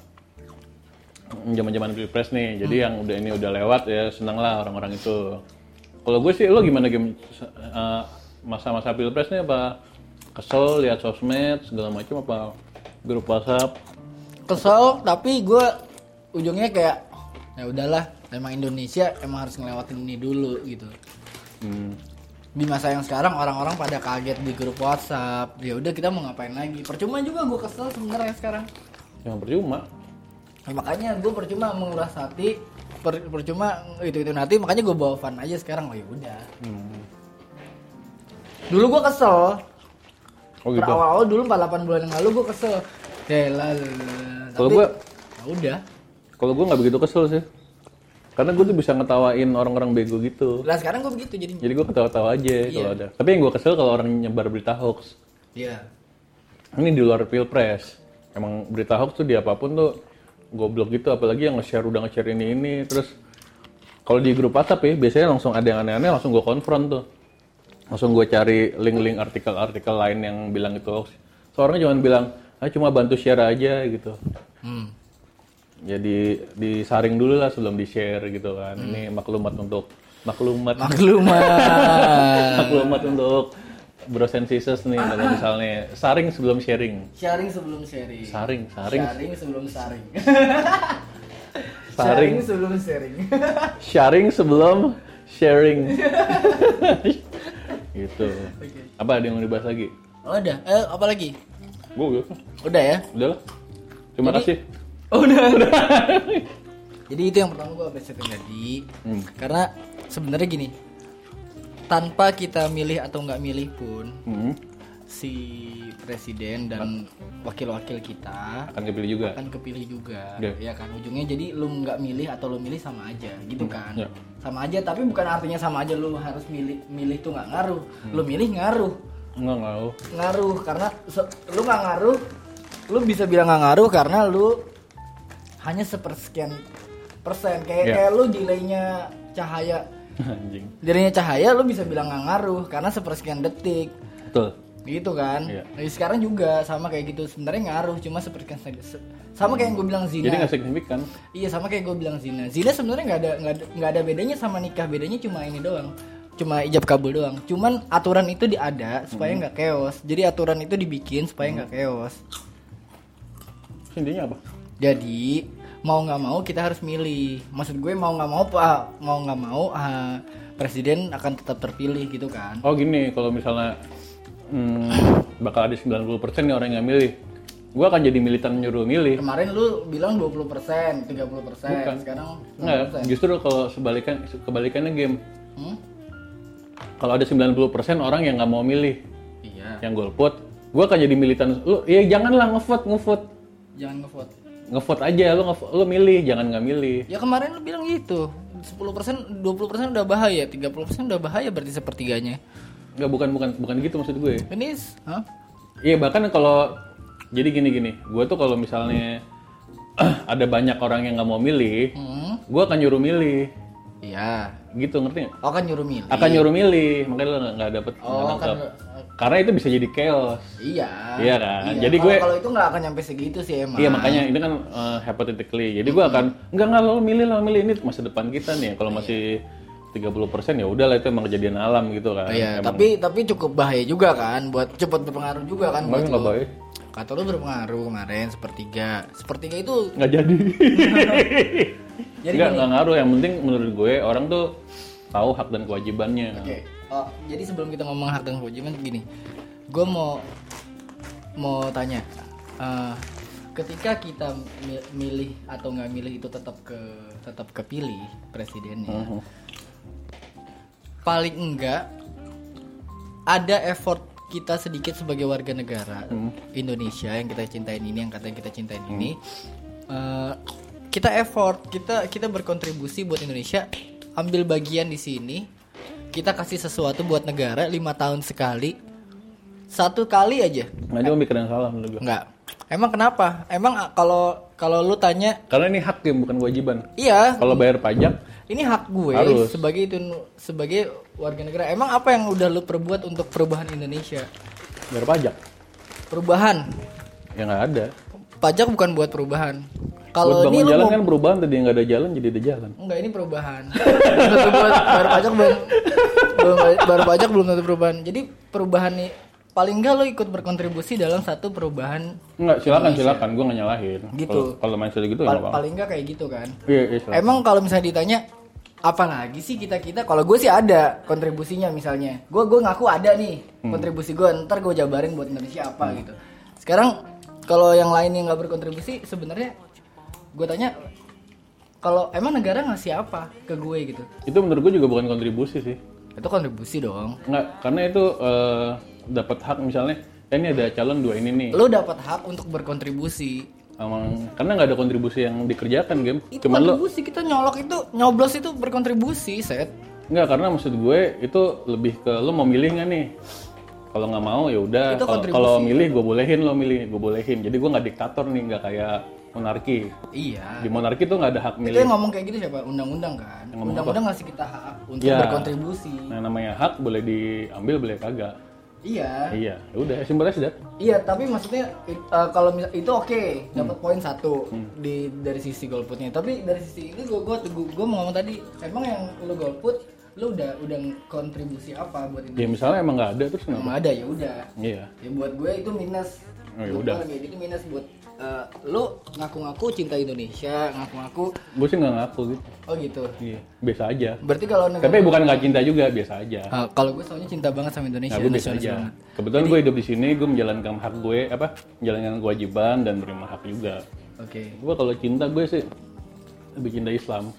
Speaker 1: zaman-zaman pilpres nih. Jadi yang udah ini udah lewat ya senanglah orang-orang itu. Kalau gue sih lo gimana game eh, masa-masa pilpres nih apa kesel lihat sosmed segala macam apa grup WhatsApp?
Speaker 3: Kesel tapi gue ujungnya kayak ya udahlah emang Indonesia emang harus ngelewatin ini dulu gitu.
Speaker 1: Hmm.
Speaker 3: Di masa yang sekarang orang-orang pada kaget di grup WhatsApp. Ya udah kita mau ngapain lagi? Percuma juga gue kesel sebenarnya sekarang.
Speaker 1: Yang percuma.
Speaker 3: Ya, makanya gue percuma menguras hati, per- percuma itu itu hati. Makanya gue bawa fan aja sekarang. Oh ya udah.
Speaker 1: Hmm.
Speaker 3: Dulu gue kesel.
Speaker 1: Oh gitu.
Speaker 3: Awal-awal dulu 48 bulan yang lalu gue kesel. Ya, Yaelah.
Speaker 1: Kalau
Speaker 3: Tapi,
Speaker 1: gue-
Speaker 3: ya udah.
Speaker 1: Kalau gue nggak begitu kesel sih. Karena gue tuh bisa ngetawain orang-orang bego gitu.
Speaker 3: Lah sekarang gue begitu jadinya.
Speaker 1: Jadi gue ketawa-tawa aja kalau
Speaker 3: Iya.
Speaker 1: ada. Tapi yang gue kesel kalau orang nyebar berita hoax.
Speaker 3: Iya.
Speaker 1: Ini di luar pilpres. Emang berita hoax tuh di apapun tuh goblok gitu. Apalagi yang nge-share udah nge-share ini ini. Terus kalau di grup WhatsApp ya biasanya langsung ada yang aneh-aneh langsung gue konfront tuh. Langsung gue cari link-link artikel-artikel lain yang bilang itu hoax. Seorangnya cuma bilang, ah cuma bantu share aja gitu.
Speaker 3: Hmm.
Speaker 1: jadi Ya, disaring dulu lah sebelum di share gitu kan ini maklumat untuk maklumat
Speaker 3: Maklumat.
Speaker 1: maklumat untuk bros and sisters nih kalau misalnya saring sebelum sharing
Speaker 3: sharing sebelum sharing.
Speaker 1: saring saring
Speaker 3: Sharing sebelum sharing.
Speaker 1: Sharing.
Speaker 3: sebelum sharing.
Speaker 1: sharing sebelum sharing gitu apa ada yang mau dibahas lagi
Speaker 3: oh, udah. Eh, apa lagi?
Speaker 1: gue udah
Speaker 3: Udah ya.
Speaker 1: udahlah terima
Speaker 3: Jadi-
Speaker 1: kasih
Speaker 3: udah. Jadi itu yang pertama gue appreciate tadi.
Speaker 1: Hmm.
Speaker 3: Karena sebenarnya gini, tanpa kita milih atau nggak milih pun
Speaker 1: Hmm,
Speaker 3: si presiden dan wakil-wakil kita
Speaker 1: akan kepilih juga
Speaker 3: akan kan kepilih juga
Speaker 1: Iya.
Speaker 3: ya kan ujungnya jadi lu nggak milih atau lu milih sama aja gitu kan
Speaker 1: Iya.
Speaker 3: sama aja tapi bukan artinya sama aja lu harus milih milih tuh nggak ngaruh
Speaker 1: Hmm.
Speaker 3: lu milih ngaruh
Speaker 1: nggak nggak
Speaker 3: ngaruh karena se- lu nggak ngaruh lu bisa bilang nggak ngaruh karena lu hanya sepersekian persen kayak
Speaker 1: Iya.
Speaker 3: kayak lu delaynya cahaya
Speaker 1: anjing
Speaker 3: delaynya cahaya lu bisa bilang nggak ngaruh karena sepersekian detik
Speaker 1: betul
Speaker 3: gitu kan
Speaker 1: Iya.
Speaker 3: Nah, sekarang juga sama kayak gitu sebenarnya ngaruh cuma sepersekian se- sama kayak yang gue bilang zina
Speaker 1: jadi nggak signifikan
Speaker 3: Iya sama kayak gue bilang zina. Zina sebenarnya nggak ada nggak ada nggak ada bedanya sama nikah. Bedanya cuma ini doang. Cuma ijab kabul doang. Cuman aturan itu diada supaya nggak chaos. Jadi aturan itu dibikin supaya nggak chaos.
Speaker 1: Terus intinya apa
Speaker 3: Jadi mau nggak mau kita harus milih. Maksud gue mau nggak mau pak mau nggak mau ah, presiden akan tetap terpilih gitu kan.
Speaker 1: Oh gini, kalau misalnya hmm, bakal ada 90% nih orang yang milih, gue akan jadi militan nyuruh milih.
Speaker 3: Kemarin lu bilang 20%, 30%,
Speaker 1: Bukan. ya?
Speaker 3: sekarang
Speaker 1: Enggak,
Speaker 3: 10%.
Speaker 1: justru kalau sebalikan kebalikannya game.
Speaker 3: Hmm?
Speaker 1: Kalau ada 90% orang yang nggak mau milih,
Speaker 3: Iya.
Speaker 1: yang golput, gue akan jadi militan. Lu, ya janganlah ngevote, ngevote,
Speaker 3: Jangan ngevote.
Speaker 1: ngevote aja. Lu ngevote, lu milih, jangan nggak milih.
Speaker 3: Ya kemarin lu bilang gitu. 10%, 20% udah bahaya, 30% udah bahaya berarti sepertiganya.
Speaker 1: Enggak, bukan bukan bukan gitu maksud gue.
Speaker 3: Ini s- hah?
Speaker 1: Iya bahkan kalau jadi gini-gini, gue tuh kalau misalnya ada banyak orang yang nggak mau milih,
Speaker 3: Hmm.
Speaker 1: gue akan nyuruh milih.
Speaker 3: Iya.
Speaker 1: Gitu ngerti nggak?
Speaker 3: Oh kan nyuruh milih.
Speaker 1: akan nyuruh milih makanya lo nggak- nggak dapet
Speaker 3: Oh,
Speaker 1: nggak nangkep.
Speaker 3: kan-
Speaker 1: karena itu bisa jadi chaos
Speaker 3: Iya.
Speaker 1: Iya kan? Jadi
Speaker 3: Kalau-
Speaker 1: gue-
Speaker 3: kalau itu nggak akan nyampe segitu sih emang.
Speaker 1: iya makanya ini kan uh, hypothetically jadi gue
Speaker 3: Hmm.
Speaker 1: akan nggak nggak lo milih lo milih ini masa depan kita nih
Speaker 3: Iya.
Speaker 1: kalau masih 30% ya udahlah itu emang kejadian alam gitu kan
Speaker 3: Iya,
Speaker 1: Emang-
Speaker 3: tapi tapi cukup bahaya juga kan buat cepet berpengaruh juga kan
Speaker 1: emang
Speaker 3: buat
Speaker 1: nggak
Speaker 3: lu.
Speaker 1: baik
Speaker 3: Kata lu berpengaruh kemarin sepertiga. Sepertiga itu
Speaker 1: nggak jadi
Speaker 3: Jadi
Speaker 1: nggak nggak ngaruh yang penting menurut gue orang tuh tahu hak dan kewajibannya
Speaker 3: Oke. Oh, jadi sebelum kita ngomong hak dan kewajiban gini, gue mau mau tanya, eh, ketika kita mi- milih atau nggak milih itu tetap ke tetap kepilih presidennya, paling enggak ada effort kita sedikit sebagai warga negara Indonesia yang kita cintain ini, yang katanya kita cintain ini, eh, kita effort, kita kita berkontribusi buat Indonesia, ambil bagian di sini, kita kasih sesuatu buat negara lima tahun sekali, satu kali aja,
Speaker 1: nggak cuma Nah, mikir yang salah menurut gue
Speaker 3: nggak? Emang kenapa? Emang ah, kalau kalau lu tanya,
Speaker 1: karena ini hak ya bukan kewajiban
Speaker 3: iya,
Speaker 1: kalau bayar pajak
Speaker 3: ini hak gue
Speaker 1: Harus.
Speaker 3: sebagai itu sebagai warga negara. Emang apa yang udah lu perbuat untuk perubahan Indonesia?
Speaker 1: Bayar pajak.
Speaker 3: Perubahan.
Speaker 1: Ya nggak ada.
Speaker 3: Pajak bukan buat perubahan.
Speaker 1: Buat
Speaker 3: Kalau
Speaker 1: bangun
Speaker 3: ini lu
Speaker 1: jalan
Speaker 3: mau
Speaker 1: kan perubahan tadi nggak ada jalan jadi ada jalan.
Speaker 3: Enggak, ini perubahan. Belum tentu buat- baru pajak belum, belum baru pajak belum tentu perubahan. Jadi perubahan nih paling enggak lo ikut berkontribusi dalam satu perubahan
Speaker 1: Enggak, silakan silakan, gue nggak nyalahin.
Speaker 3: Iya, Gitu.
Speaker 1: Kalau- Kalau mindset gitu ya
Speaker 3: Pal-
Speaker 1: nggak apa-apa.
Speaker 3: paling enggak kayak gitu kan.
Speaker 1: Iya, iya, silakan.
Speaker 3: Emang kalau misalnya ditanya apalagi sih kita kita kalau gue sih ada kontribusinya misalnya gue gue ngaku ada nih kontribusi gue ntar gue jabarin buat Indonesia apa gitu sekarang kalau yang lain yang nggak berkontribusi sebenarnya gue tanya kalau emang negara ngasih apa ke gue gitu
Speaker 1: Itu menurut gue juga bukan kontribusi sih.
Speaker 3: itu kontribusi dong
Speaker 1: Enggak, karena itu eh, dapat hak misalnya, eh, ini ada calon dua ini nih.
Speaker 3: lo dapat hak untuk berkontribusi
Speaker 1: Emang, karena nggak ada kontribusi yang dikerjakan game.
Speaker 3: itu
Speaker 1: Cuman lo
Speaker 3: kontribusi kita nyolok itu nyoblos itu berkontribusi set
Speaker 1: Enggak, karena maksud gue itu lebih ke lo mau milih nggak nih? Kalau nggak mau ya udah.
Speaker 3: Itu
Speaker 1: Kalau-
Speaker 3: kontribusi.
Speaker 1: Kalau milih gue bolehin lo milih, gue bolehin. Jadi gue nggak diktator nih, nggak kayak monarki.
Speaker 3: iya
Speaker 1: Di monarki tuh nggak ada hak
Speaker 3: itu
Speaker 1: milih.
Speaker 3: yang ngomong kayak gitu siapa undang-undang kan
Speaker 1: Yang ngomong
Speaker 3: undang-undang ngasih kita hak untuk
Speaker 1: Iya.
Speaker 3: berkontribusi
Speaker 1: Nah namanya hak boleh diambil boleh kagak.
Speaker 3: iya
Speaker 1: Iya, ya udah simpel aja. Dad.
Speaker 3: iya tapi maksudnya i- eh, kalau misal itu oke
Speaker 1: Hmm.
Speaker 3: dapat poin satu di dari sisi golputnya tapi dari sisi ini gue gue gue mau ngomong tadi emang yang lo golput lo udah udah kontribusi apa buat
Speaker 1: Ya
Speaker 3: Indonesia
Speaker 1: misalnya emang nggak ada terus kenapa?
Speaker 3: emang ada ya udah
Speaker 1: Iya.
Speaker 3: ya buat gue itu minus
Speaker 1: Oh, ya
Speaker 3: Buat
Speaker 1: udah.
Speaker 3: gue lebih- itu minus buat eh, lu ngaku-ngaku cinta Indonesia ngaku-ngaku
Speaker 1: Gue sih nggak ngaku gitu.
Speaker 3: oh gitu
Speaker 1: Iya. Biasa aja.
Speaker 3: berarti kalau negara
Speaker 1: Tapi bukan nggak cinta juga, biasa aja.
Speaker 3: Ah, kalau gue soalnya cinta banget sama Indonesia
Speaker 1: Nah, gue biasa
Speaker 3: nasionalis
Speaker 1: aja.
Speaker 3: banget.
Speaker 1: Kebetulan gue hidup di sini, gue menjalankan hak gue apa? Menjalankan kewajiban dan menerima hak juga.
Speaker 3: oke
Speaker 1: Gue kalau cinta gue sih lebih cinta Islam.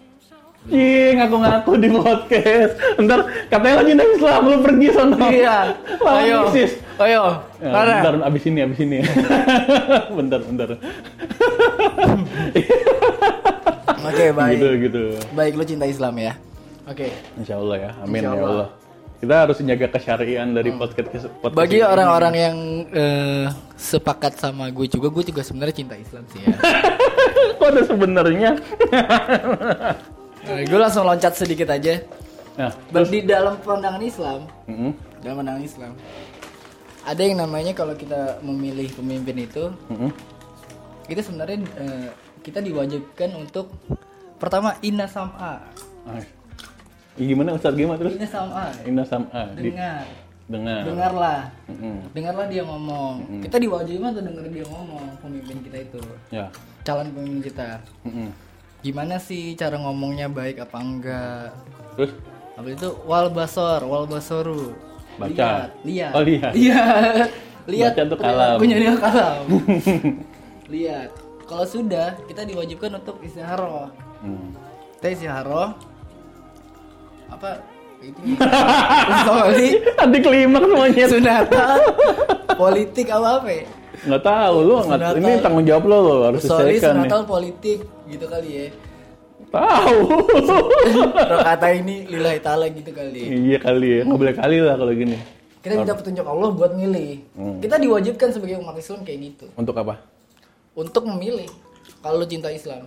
Speaker 1: Ih, ngaku-ngaku di podcast. Ntar katanya lo cinta Islam, lo pergi sana.
Speaker 3: iya
Speaker 1: Lawan
Speaker 3: ayo
Speaker 1: ISIS.
Speaker 3: ayo
Speaker 1: Ya,
Speaker 3: Farah.
Speaker 1: bentar, abis ini, abis ini. bentar, bentar.
Speaker 3: oke baik
Speaker 1: Gitu, gitu.
Speaker 3: baik lu cinta Islam ya oke
Speaker 1: Insya Allah ya, amin
Speaker 3: Insya
Speaker 1: ya
Speaker 3: Allah.
Speaker 1: Allah. Kita harus menjaga kesyarian dari podcast, podcast
Speaker 3: Hmm. bagi
Speaker 1: ini.
Speaker 3: orang-orang yang eh, sepakat sama gue juga gue juga sebenarnya cinta Islam sih ya
Speaker 1: Kok ada sebenarnya?
Speaker 3: Eh, gue langsung loncat sedikit aja
Speaker 1: Nah,
Speaker 3: di dalam pandangan Islam
Speaker 1: mm-mm.
Speaker 3: dalam pandangan Islam ada yang namanya kalau kita memilih pemimpin itu
Speaker 1: Mm-mm.
Speaker 3: itu sebenarnya eh, kita diwajibkan untuk pertama inna sam'a
Speaker 1: Ah. Ya, gimana Ustaz gimana terus?
Speaker 3: inna sam'a
Speaker 1: Inna sam'a di Nah.
Speaker 3: dengar
Speaker 1: dengar.
Speaker 3: dengarlah
Speaker 1: Mm-mm.
Speaker 3: dengarlah dia ngomong kita diwajibkan untuk denger dia ngomong pemimpin kita itu
Speaker 1: Ya.
Speaker 3: calon pemimpin kita
Speaker 1: Mm-mm.
Speaker 3: gimana sih cara ngomongnya baik apa enggak
Speaker 1: Terus
Speaker 3: Habis itu wal basor, wal basoru.
Speaker 1: Baca.
Speaker 3: Lihat, lihat.
Speaker 1: Oh, lihat.
Speaker 3: Iya. lihat.
Speaker 1: Baca tuh kalam.
Speaker 3: Punya dia kalam. lihat. Kalau sudah, kita diwajibkan untuk istiharoh.
Speaker 1: hmm.
Speaker 3: Kita istiharoh. Apa? Itu Sama sih.
Speaker 1: Ada kelima semuanya.
Speaker 3: Sunatan. Politik apa apa? ya?
Speaker 1: Nggak tahu lu nggak ini
Speaker 3: Sunatan.
Speaker 1: tanggung jawab lo lo harus ya. diselesaikan
Speaker 3: Sorry,
Speaker 1: nih.
Speaker 3: sunatan politik gitu kali ya.
Speaker 1: Tahu.
Speaker 3: Kalau kata ini lillahi ta'ala gitu kali.
Speaker 1: iya kali ya. Nggak boleh kali lah kalau gini.
Speaker 3: Kita minta petunjuk Allah buat milih.
Speaker 1: Hmm.
Speaker 3: Kita diwajibkan sebagai umat Islam kayak gitu.
Speaker 1: Untuk apa?
Speaker 3: Untuk memilih kalau lu cinta Islam.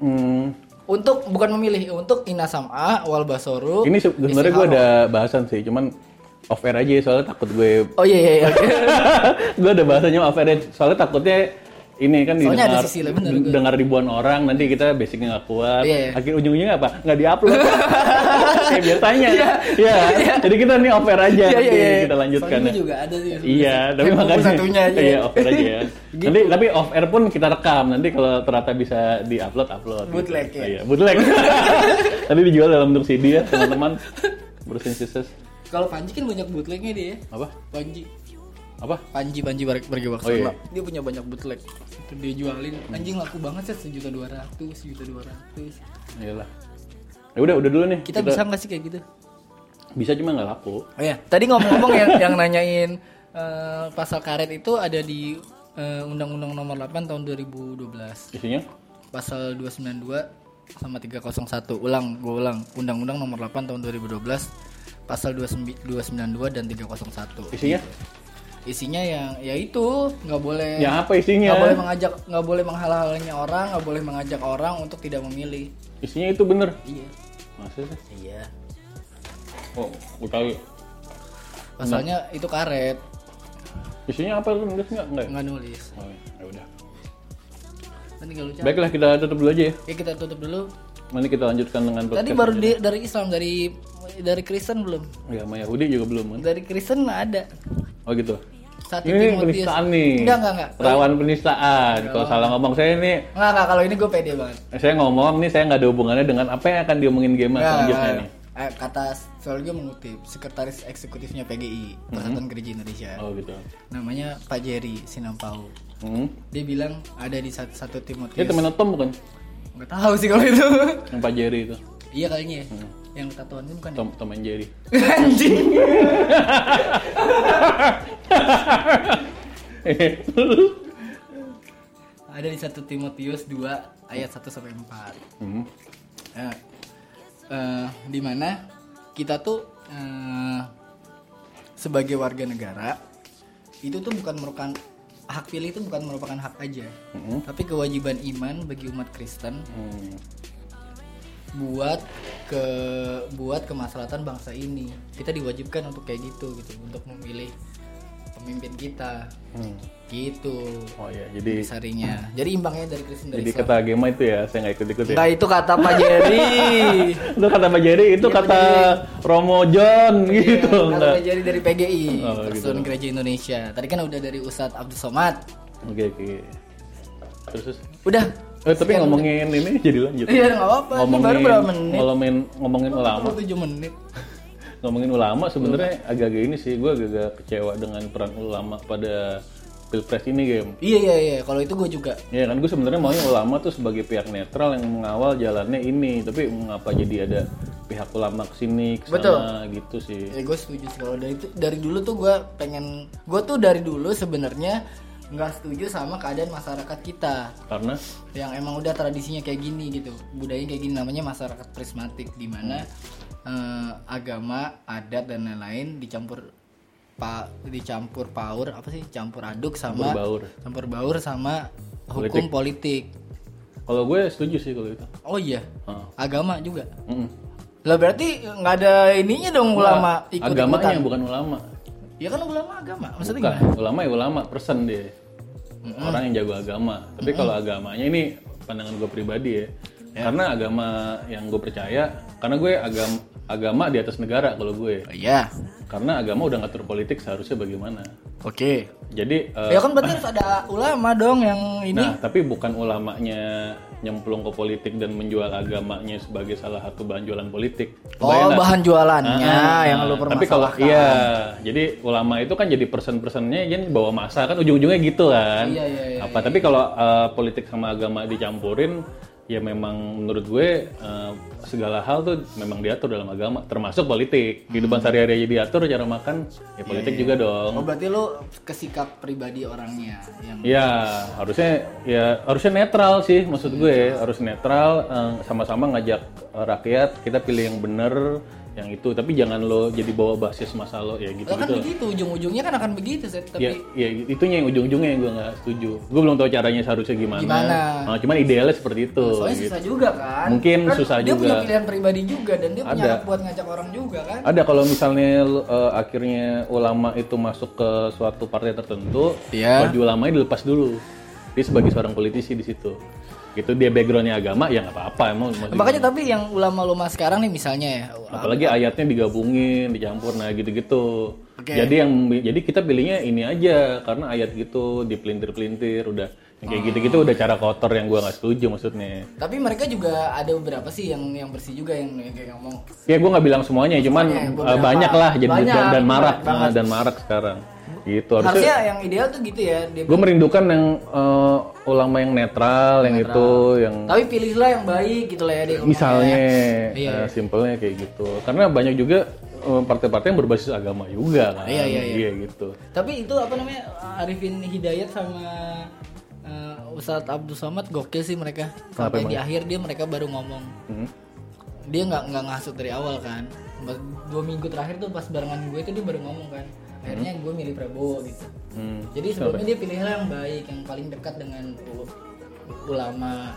Speaker 1: Hmm.
Speaker 3: Untuk bukan memilih, untuk inasam'a wal basoru.
Speaker 1: Ini se- sebenarnya gue ada bahasan sih, cuman off air aja ya, soalnya takut gue
Speaker 3: Oh iya iya iya.
Speaker 1: gue ada bahasanya off air soalnya takutnya ini kan
Speaker 3: Soalnya
Speaker 1: didengar,
Speaker 3: ada sisi lain, bener, gua.
Speaker 1: dengar ribuan orang nanti kita basicnya nggak kuat
Speaker 3: Iya, iya.
Speaker 1: akhir ujung-ujungnya apa nggak diupload kayak biasanya ya jadi kita nih off air aja
Speaker 3: Iya,
Speaker 1: nanti
Speaker 3: iya, iya.
Speaker 1: kita lanjutkan
Speaker 3: Soalnya
Speaker 1: ya.
Speaker 3: juga ada sih.
Speaker 1: iya tapi
Speaker 3: Kayak
Speaker 1: makanya
Speaker 3: satunya aja. Gitu.
Speaker 1: iya off air aja ya nanti tapi off air pun kita rekam nanti kalau ternyata bisa diupload upload
Speaker 3: Bootleg ya?
Speaker 1: iya bootleg tadi dijual dalam bentuk CD ya teman-teman berusin sukses
Speaker 3: Kalau Panji kan banyak bootlegnya dia.
Speaker 1: apa
Speaker 3: Panji.
Speaker 1: apa
Speaker 3: Panji Panji Bar- pergi
Speaker 1: Oh, iya.
Speaker 3: Dia punya banyak bootleg. Itu dia jualin. Anjing laku banget sih sejuta dua ratus, sejuta dua ratus.
Speaker 1: Iyalah. Iya Ya udah, udah dulu nih.
Speaker 3: Kita bisa nggak sih kayak gitu?
Speaker 1: bisa cuma nggak laku.
Speaker 3: Oh ya, tadi ngomong-ngomong yang yang nanyain eh, pasal karet itu ada di eh, Undang-Undang Nomor 8 tahun 2012.
Speaker 1: Isinya
Speaker 3: Pasal 292 sama 301. Ulang, gue ulang. Undang-Undang Nomor 8 tahun 2012 pasal 29 292 dan 301.
Speaker 1: isinya
Speaker 3: isinya yang ya itu nggak boleh
Speaker 1: Ya apa isinya?
Speaker 3: nggak boleh mengajak nggak boleh menghalang-halangi orang nggak boleh mengajak orang untuk tidak memilih
Speaker 1: Isinya itu bener.
Speaker 3: iya
Speaker 1: Maksudnya?
Speaker 3: iya
Speaker 1: Oh, gue tahu.
Speaker 3: pasalnya itu karet
Speaker 1: Isinya apa lu nulis nggak? Nggak. ya?
Speaker 3: nggak nulis
Speaker 1: Oh, ya udah.
Speaker 3: nanti tinggal lu cari.
Speaker 1: Baiklah kita tutup dulu aja ya.
Speaker 3: ya kita tutup dulu
Speaker 1: Nanti kita lanjutkan dengan
Speaker 3: tadi
Speaker 1: podcast
Speaker 3: baru di- dari Islam dari dari Kristen belum
Speaker 1: Ya, sama Yahudi juga belum kan?
Speaker 3: dari Kristen ada
Speaker 1: Oh gitu.
Speaker 3: satu
Speaker 1: Ini
Speaker 3: Timotius.
Speaker 1: penistaan nih.
Speaker 3: enggak enggak enggak
Speaker 1: Rawan penistaan. Kalau salah ngomong saya ini,
Speaker 3: enggak, enggak kalau ini gue pede banget
Speaker 1: saya ngomong nih saya nggak ada hubungannya dengan apa yang akan diomongin game
Speaker 3: Enggak,
Speaker 1: selanjutnya
Speaker 3: enggak,
Speaker 1: nih.
Speaker 3: enggak. Eh, kata soalnya gue mengutip sekretaris eksekutifnya PGI Persatuan Gereja Indonesia
Speaker 1: Mhm. Oh gitu.
Speaker 3: namanya Pak Jerry Sinampau
Speaker 1: Hmm.
Speaker 3: dia bilang ada di satu, satu Timotius
Speaker 1: Dia temen Tom bukan?
Speaker 3: nggak tahu sih kalau itu
Speaker 1: Yang Pak Jerry itu.
Speaker 3: iya kayaknya ya
Speaker 1: Hmm.
Speaker 3: yang tatoan itu bukan ya?
Speaker 1: Tom, Tom and Jerry.
Speaker 3: anjing
Speaker 1: Hmm.
Speaker 3: ada di satu Timotius 2 ayat 1 sampai 4
Speaker 1: hmm.
Speaker 3: eh eh, di mana kita tuh eh, sebagai warga negara itu tuh bukan merupakan hak pilih itu bukan merupakan hak aja,
Speaker 1: Mm-hmm.
Speaker 3: tapi kewajiban iman bagi umat Kristen
Speaker 1: Hmm.
Speaker 3: buat ke buat kemaslahatan bangsa ini. Kita diwajibkan untuk kayak gitu gitu, untuk memilih pemimpin kita.
Speaker 1: Hmm.
Speaker 3: Gitu.
Speaker 1: Oh ya, jadi
Speaker 3: Sarinya. Jadi imbangnya dari Kristen dari
Speaker 1: jadi
Speaker 3: Islam.
Speaker 1: kata game itu ya, saya nggak ikut-ikut ya.
Speaker 3: Nah, itu kata Pak Jerry.
Speaker 1: Itu kata Pak Jerry, itu kata Romo John gitu.
Speaker 3: Iya, Karena
Speaker 1: enggak.
Speaker 3: udah jadi dari PGI,
Speaker 1: Oh,
Speaker 3: Persatuan
Speaker 1: gitu.
Speaker 3: Gereja Indonesia. Tadi kan udah dari Ustadz Abdul Somad.
Speaker 1: Oke, oke. Terus, terus.
Speaker 3: Udah.
Speaker 1: Eh, tapi ngomongin ini jadi lanjut.
Speaker 3: Iya, nggak apa-apa. Ini
Speaker 1: Ngomongin,
Speaker 3: baru berapa menit?
Speaker 1: Ngomongin, ngomongin ulama.
Speaker 3: 7 menit.
Speaker 1: ngomongin ulama sebenarnya
Speaker 3: Iya.
Speaker 1: agak-agak ini sih gue agak-agak kecewa dengan peran ulama pada pilpres ini game
Speaker 3: Iya iya iya, kalau itu gue juga.
Speaker 1: ya kan gue sebenarnya maunya ulama tuh sebagai pihak netral yang mengawal jalannya ini tapi mengapa jadi ada pihak ulama kesini kesana gitu sih
Speaker 3: Ya, gue setuju sih kalau dari itu dari dulu tuh gue pengen gue tuh dari dulu sebenarnya nggak setuju sama keadaan masyarakat kita
Speaker 1: karena
Speaker 3: yang emang udah tradisinya kayak gini gitu budayanya kayak gini namanya masyarakat prismatik di mana eh, agama adat dan lain-lain dicampur pa dicampur paur apa sih campur aduk sama
Speaker 1: Berbaur.
Speaker 3: campur baur sama hukum politik,
Speaker 1: kalau gue setuju sih kalau itu
Speaker 3: oh iya
Speaker 1: Heeh.
Speaker 3: agama juga
Speaker 1: Mm-mm.
Speaker 3: lah berarti nggak ada ininya dong ulama ikut
Speaker 1: agamanya bukan ulama
Speaker 3: ya kan ulama agama maksudnya
Speaker 1: bukan
Speaker 3: gimana
Speaker 1: ulama ya ulama person dia orang yang jago agama tapi kalau agamanya ini pandangan gue pribadi ya karena agama yang gue percaya karena gue agam agama di atas negara kalau gue
Speaker 3: Oh, iya
Speaker 1: karena agama udah ngatur politik seharusnya bagaimana
Speaker 3: oke
Speaker 1: jadi eh,
Speaker 3: ya kan berarti harus ada ulama dong yang ini
Speaker 1: nah tapi bukan ulamanya nyemplung ke politik dan menjual agamanya sebagai salah satu bahan jualan politik
Speaker 3: oh
Speaker 1: Kebayang nggak?
Speaker 3: bahan jualannya
Speaker 1: Ah,
Speaker 3: yang lu
Speaker 1: tapi kalau
Speaker 3: permasalahkan
Speaker 1: iya jadi ulama itu kan jadi person-personnya jadi bawa masa kan ujung-ujungnya gitu kan
Speaker 3: Iya, iya, iya,
Speaker 1: apa tapi kalau eh, politik sama agama dicampurin ya memang menurut gue eh, segala hal tuh memang diatur dalam agama termasuk politik
Speaker 3: Hmm.
Speaker 1: kehidupan sehari-hari aja diatur cara makan ya politik juga dong
Speaker 3: Oh berarti lo kesikap pribadi orangnya yang
Speaker 1: Ya harusnya ya harusnya netral sih maksud gue
Speaker 3: Iya.
Speaker 1: harus netral eh, sama-sama ngajak eh, rakyat kita pilih yang bener yang itu tapi jangan lo jadi bawa basis masa lo ya gitu
Speaker 3: Lah kan
Speaker 1: gitu
Speaker 3: begitu ujung-ujungnya kan akan begitu Seth.
Speaker 1: ya
Speaker 3: tapi
Speaker 1: ya itunya yang ujung-ujungnya yang gue nggak setuju gue belum tahu caranya seharusnya gimana,
Speaker 3: Gimana?
Speaker 1: Nah, cuman idealnya seperti itu
Speaker 3: soalnya
Speaker 1: gitu.
Speaker 3: susah juga kan.
Speaker 1: Mungkin
Speaker 3: Kan
Speaker 1: susah
Speaker 3: Dia punya
Speaker 1: juga.
Speaker 3: pilihan pribadi juga dan dia punya
Speaker 1: Ada.
Speaker 3: hak buat ngajak orang juga kan.
Speaker 1: ada kalau misalnya eh, akhirnya ulama itu masuk ke suatu partai tertentu
Speaker 3: Iya.
Speaker 1: baju ulamanya dilepas dulu dia sebagai seorang politisi di situ itu dia backgroundnya agama ya nggak apa-apa emang mau
Speaker 3: Makanya tapi yang ulama-ulama sekarang nih misalnya ya.
Speaker 1: apalagi ayatnya digabungin dicampur nah gitu-gitu
Speaker 3: Oke.
Speaker 1: jadi yang jadi kita pilihnya ini aja karena ayat gitu dipelintir-pelintir udah yang
Speaker 3: Oh.
Speaker 1: kayak gitu-gitu udah cara kotor yang gua nggak setuju maksudnya
Speaker 3: Tapi mereka juga ada beberapa sih yang yang bersih juga yang, yang kayak ngomong.
Speaker 1: ya gua nggak bilang semuanya cuman
Speaker 3: Semuanya,
Speaker 1: eh,
Speaker 3: beberapa.
Speaker 1: banyak lah jadi
Speaker 3: Banyak,
Speaker 1: dan, dan marak
Speaker 3: banyak banget.
Speaker 1: nah, dan marak sekarang gitu
Speaker 3: Harusnya yang ideal tuh gitu ya. Dia,
Speaker 1: Gue merindukan yang eh, ulama yang netral, yang itu, yang
Speaker 3: tapi pilihlah yang baik gitu lah ya dia. ngomongnya.
Speaker 1: misalnya
Speaker 3: Iya,
Speaker 1: eh, simpelnya kayak gitu. Karena banyak juga eh, partai-partai yang berbasis agama juga kan.
Speaker 3: Iya, iya, iya.
Speaker 1: gitu.
Speaker 3: Tapi itu apa namanya Arifin Hidayat sama eh, Ustadz Abdul Somad gokil sih mereka. Sampai di akhir dia mereka baru ngomong.
Speaker 1: Hmm.
Speaker 3: Dia nggak nggak ngasut dari awal kan. Ba- dua minggu terakhir tuh pas barengan gue itu dia baru ngomong kan akhirnya gue milih Prabowo gitu
Speaker 1: Hmm.
Speaker 3: jadi sebelumnya dia pilihlah yang baik yang paling dekat dengan u- ulama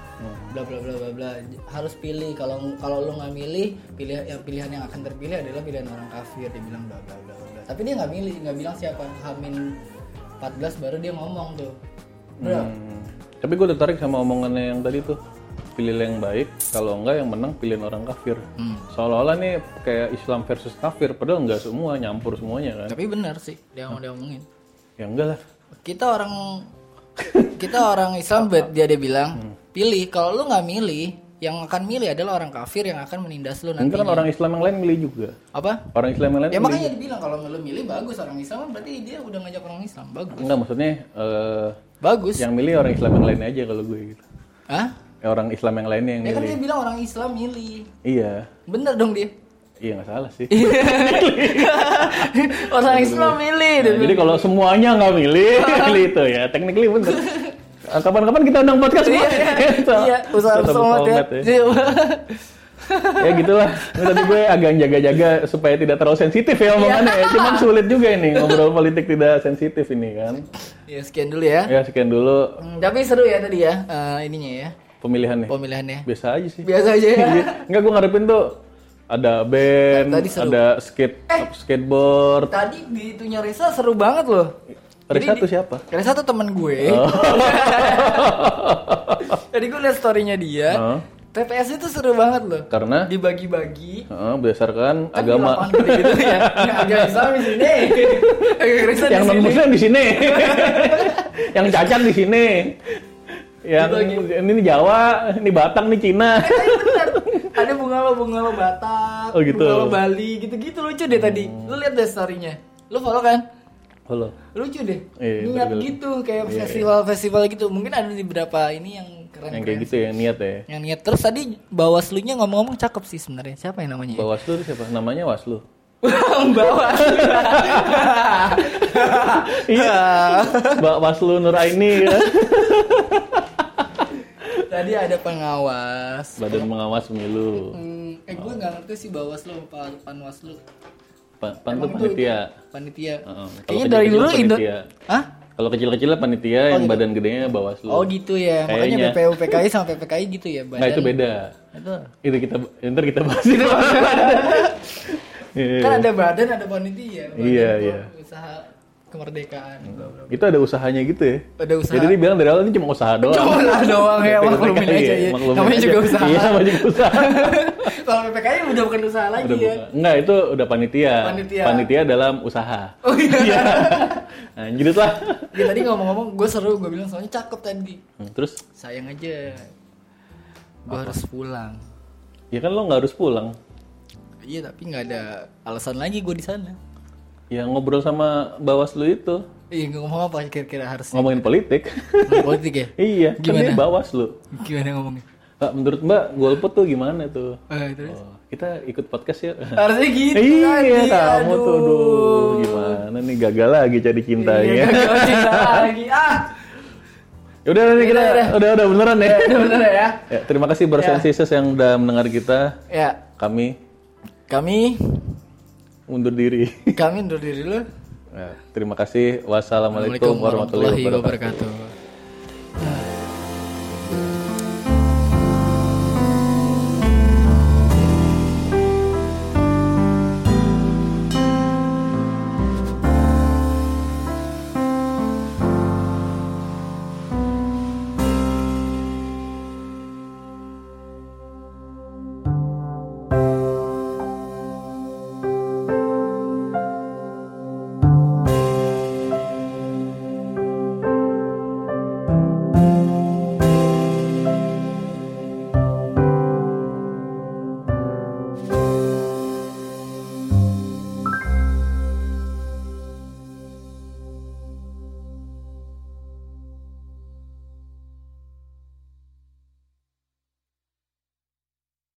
Speaker 3: bla bla bla bla bla harus pilih kalau kalau lo nggak milih pilih yang pilihan yang akan terpilih adalah pilihan orang kafir dia bilang bla bla bla bla tapi dia nggak milih nggak bilang siapa Hamin 14 baru dia ngomong tuh bro
Speaker 1: Hmm. Tapi gue tertarik sama omongannya yang tadi tuh pilih yang baik, kalau enggak yang menang pilihan orang kafir.
Speaker 3: Hmm.
Speaker 1: Seolah-olah nih kayak Islam versus kafir, padahal enggak semua nyampur semuanya kan?
Speaker 3: tapi benar sih dia mau dia ngomongin
Speaker 1: Ya enggak lah.
Speaker 3: kita orang kita orang Islam bet dia dia bilang pilih kalau lu nggak milih yang akan milih adalah orang kafir yang akan menindas lu nanti
Speaker 1: Nanti kan orang Islam yang lain milih juga.
Speaker 3: apa
Speaker 1: Orang Islam yang lain
Speaker 3: Iya. ya
Speaker 1: milih.
Speaker 3: makanya dibilang kalau lu milih bagus orang Islam kan berarti dia udah ngajak orang Islam bagus
Speaker 1: Enggak maksudnya eh,
Speaker 3: bagus
Speaker 1: yang milih orang Islam yang lain aja kalau gue gitu.
Speaker 3: Hah?
Speaker 1: Ya, orang Islam yang lainnya yang
Speaker 3: ya kan
Speaker 1: milih.
Speaker 3: dia bilang orang Islam milih
Speaker 1: Iya.
Speaker 3: bener dong dia
Speaker 1: Iya nggak salah sih.
Speaker 3: orang Islam milih
Speaker 1: Nah, jadi kalau semuanya nggak milih, milih itu ya. Technically bener. Eh, Kapan-kapan kita undang podcast semua.
Speaker 3: iya usaha
Speaker 1: Tetap
Speaker 3: usaha
Speaker 1: format ya. ya gitulah Ini tadi gue agak jaga-jaga supaya tidak terlalu sensitif ya omongannya
Speaker 3: Iya.
Speaker 1: ya. cuman sulit juga ini ngobrol politik tidak sensitif ini kan
Speaker 3: ya sekian dulu ya
Speaker 1: ya sekian dulu
Speaker 3: Hmm, tapi seru ya tadi ya eh, ininya ya
Speaker 1: pemilihan nih
Speaker 3: pemilihannya
Speaker 1: biasa aja sih
Speaker 3: biasa aja ya
Speaker 1: enggak gue ngarepin tuh ada band
Speaker 3: Tadi seru. Eh.
Speaker 1: ada skate skateboard
Speaker 3: Tadi di itunya Reza seru banget loh.
Speaker 1: Risa
Speaker 3: Jadi
Speaker 1: tuh
Speaker 3: di-
Speaker 1: siapa
Speaker 3: Reza tuh temen gue.
Speaker 1: Oh.
Speaker 3: Tadi gue liat storynya dia.
Speaker 1: Heeh.
Speaker 3: TPS itu seru banget loh.
Speaker 1: karena
Speaker 3: Dibagi-bagi.
Speaker 1: heeh, berdasarkan
Speaker 3: Kan di
Speaker 1: agama
Speaker 3: lapangan gitu-gitu ya. Ya, agak Islam di sini. Agak Kristen
Speaker 1: yang
Speaker 3: di
Speaker 1: non
Speaker 3: sini.
Speaker 1: muslim di sini yang cacat di sini yang ini Jawa ini Batak ini Cina
Speaker 3: Tapi bener. Ada bunga lo, bunga lo Batak,
Speaker 1: Oh, gitu. Hmm.
Speaker 3: bunga lo Bali, gitu-gitu lucu deh tadi. Lu lihat deh storynya. Lu follow kan?
Speaker 1: halo
Speaker 3: Lucu deh.
Speaker 1: Iya,
Speaker 3: Niat
Speaker 1: bener-bener.
Speaker 3: gitu kayak festival-festival gitu. Mungkin ada di beberapa ini yang keren.
Speaker 1: yang kayak gitu ya niat ya
Speaker 3: yang niat terus tadi bawaslunya ngomong-ngomong cakep sih sebenarnya siapa yang namanya ya?
Speaker 1: Bawaslu itu siapa? Namanya Waslu.
Speaker 3: bawaslu
Speaker 1: Iya. Mbak Waslu Nuraini kan?
Speaker 3: tadi ada pengawas
Speaker 1: Badan Pengawas Pemilu.
Speaker 3: Hmm, eh gue nggak ngerti sih bawaslu apa panwaslu
Speaker 1: Pa- Pan tuh panitia.
Speaker 3: panitia
Speaker 1: Heeh.
Speaker 3: kayaknya
Speaker 1: Kalau
Speaker 3: dari dulu
Speaker 1: kecil-kecil
Speaker 3: Indo
Speaker 1: panitia.
Speaker 3: Hah?
Speaker 1: Kalau kecil-kecilnya panitia, yang badan gedenya Bawaslu.
Speaker 3: gitu. oh gitu ya
Speaker 1: Kayaknya.
Speaker 3: makanya BPU PKI sama PPKI gitu ya
Speaker 1: Nah,
Speaker 3: badan
Speaker 1: itu beda.
Speaker 3: Itu.
Speaker 1: Itu kita ntar kita bahas itu. Iya.
Speaker 3: kan ada badan ada panitia badan
Speaker 1: Iya,
Speaker 3: tuh
Speaker 1: iya.
Speaker 3: usaha kemerdekaan
Speaker 1: itu ada usahanya gitu ya.
Speaker 3: ada usaha
Speaker 1: Jadi dia bilang dari awal ini cuma usaha doang. Iya,
Speaker 3: Cuma lah doang ya,
Speaker 1: PPKI,
Speaker 3: maklumin aja ya.
Speaker 1: maklumin
Speaker 3: Namanya
Speaker 1: aja.
Speaker 3: juga usaha.
Speaker 1: Iya, namanya juga usaha.
Speaker 3: kalau PPKI udah bukan usaha lagi
Speaker 1: Udah
Speaker 3: ya
Speaker 1: buka. Enggak, itu udah panitia.
Speaker 3: Panitia.
Speaker 1: dalam usaha.
Speaker 3: oh iya
Speaker 1: Iya. Lanjut lah.
Speaker 3: Ya, tadi ngomong-ngomong gue seru gue bilang soalnya cakep tadi
Speaker 1: Hmm, Terus,
Speaker 3: sayang aja gue harus pulang
Speaker 1: ya kan lo nggak harus pulang.
Speaker 3: iya tapi nggak ada alasan lagi gue di sana
Speaker 1: Ya ngobrol sama Bawaslu itu.
Speaker 3: iya ngomong apa kira-kira harus
Speaker 1: Ngomongin politik.
Speaker 3: Ngomong politik ya
Speaker 1: iya, kan
Speaker 3: Gimana?
Speaker 1: dia Bawaslu.
Speaker 3: gimana ngomongnya
Speaker 1: Pak, menurut Mbak, golput tuh gimana tuh?
Speaker 3: Eh, terus
Speaker 1: Oh, kita ikut podcast ya.
Speaker 3: harusnya gitu
Speaker 1: iya,
Speaker 3: tadi,
Speaker 1: kamu
Speaker 3: aduh.
Speaker 1: tuh aduh, gimana nih gagal lagi jadi
Speaker 3: Iya,
Speaker 1: cintanya.
Speaker 3: gagal cinta lagi ah
Speaker 1: Ya udah nih kita
Speaker 3: Udah,
Speaker 1: udah udah beneran ya.
Speaker 3: bener ya
Speaker 1: Ya, terima kasih Bersensisus yang udah mendengar kita.
Speaker 3: ya
Speaker 1: Kami
Speaker 3: kami
Speaker 1: undur diri.
Speaker 3: kami undur diri dulu
Speaker 1: Ya, terima kasih. Wassalamualaikum warahmatullahi wabarakatuh.
Speaker 3: wabarakatuh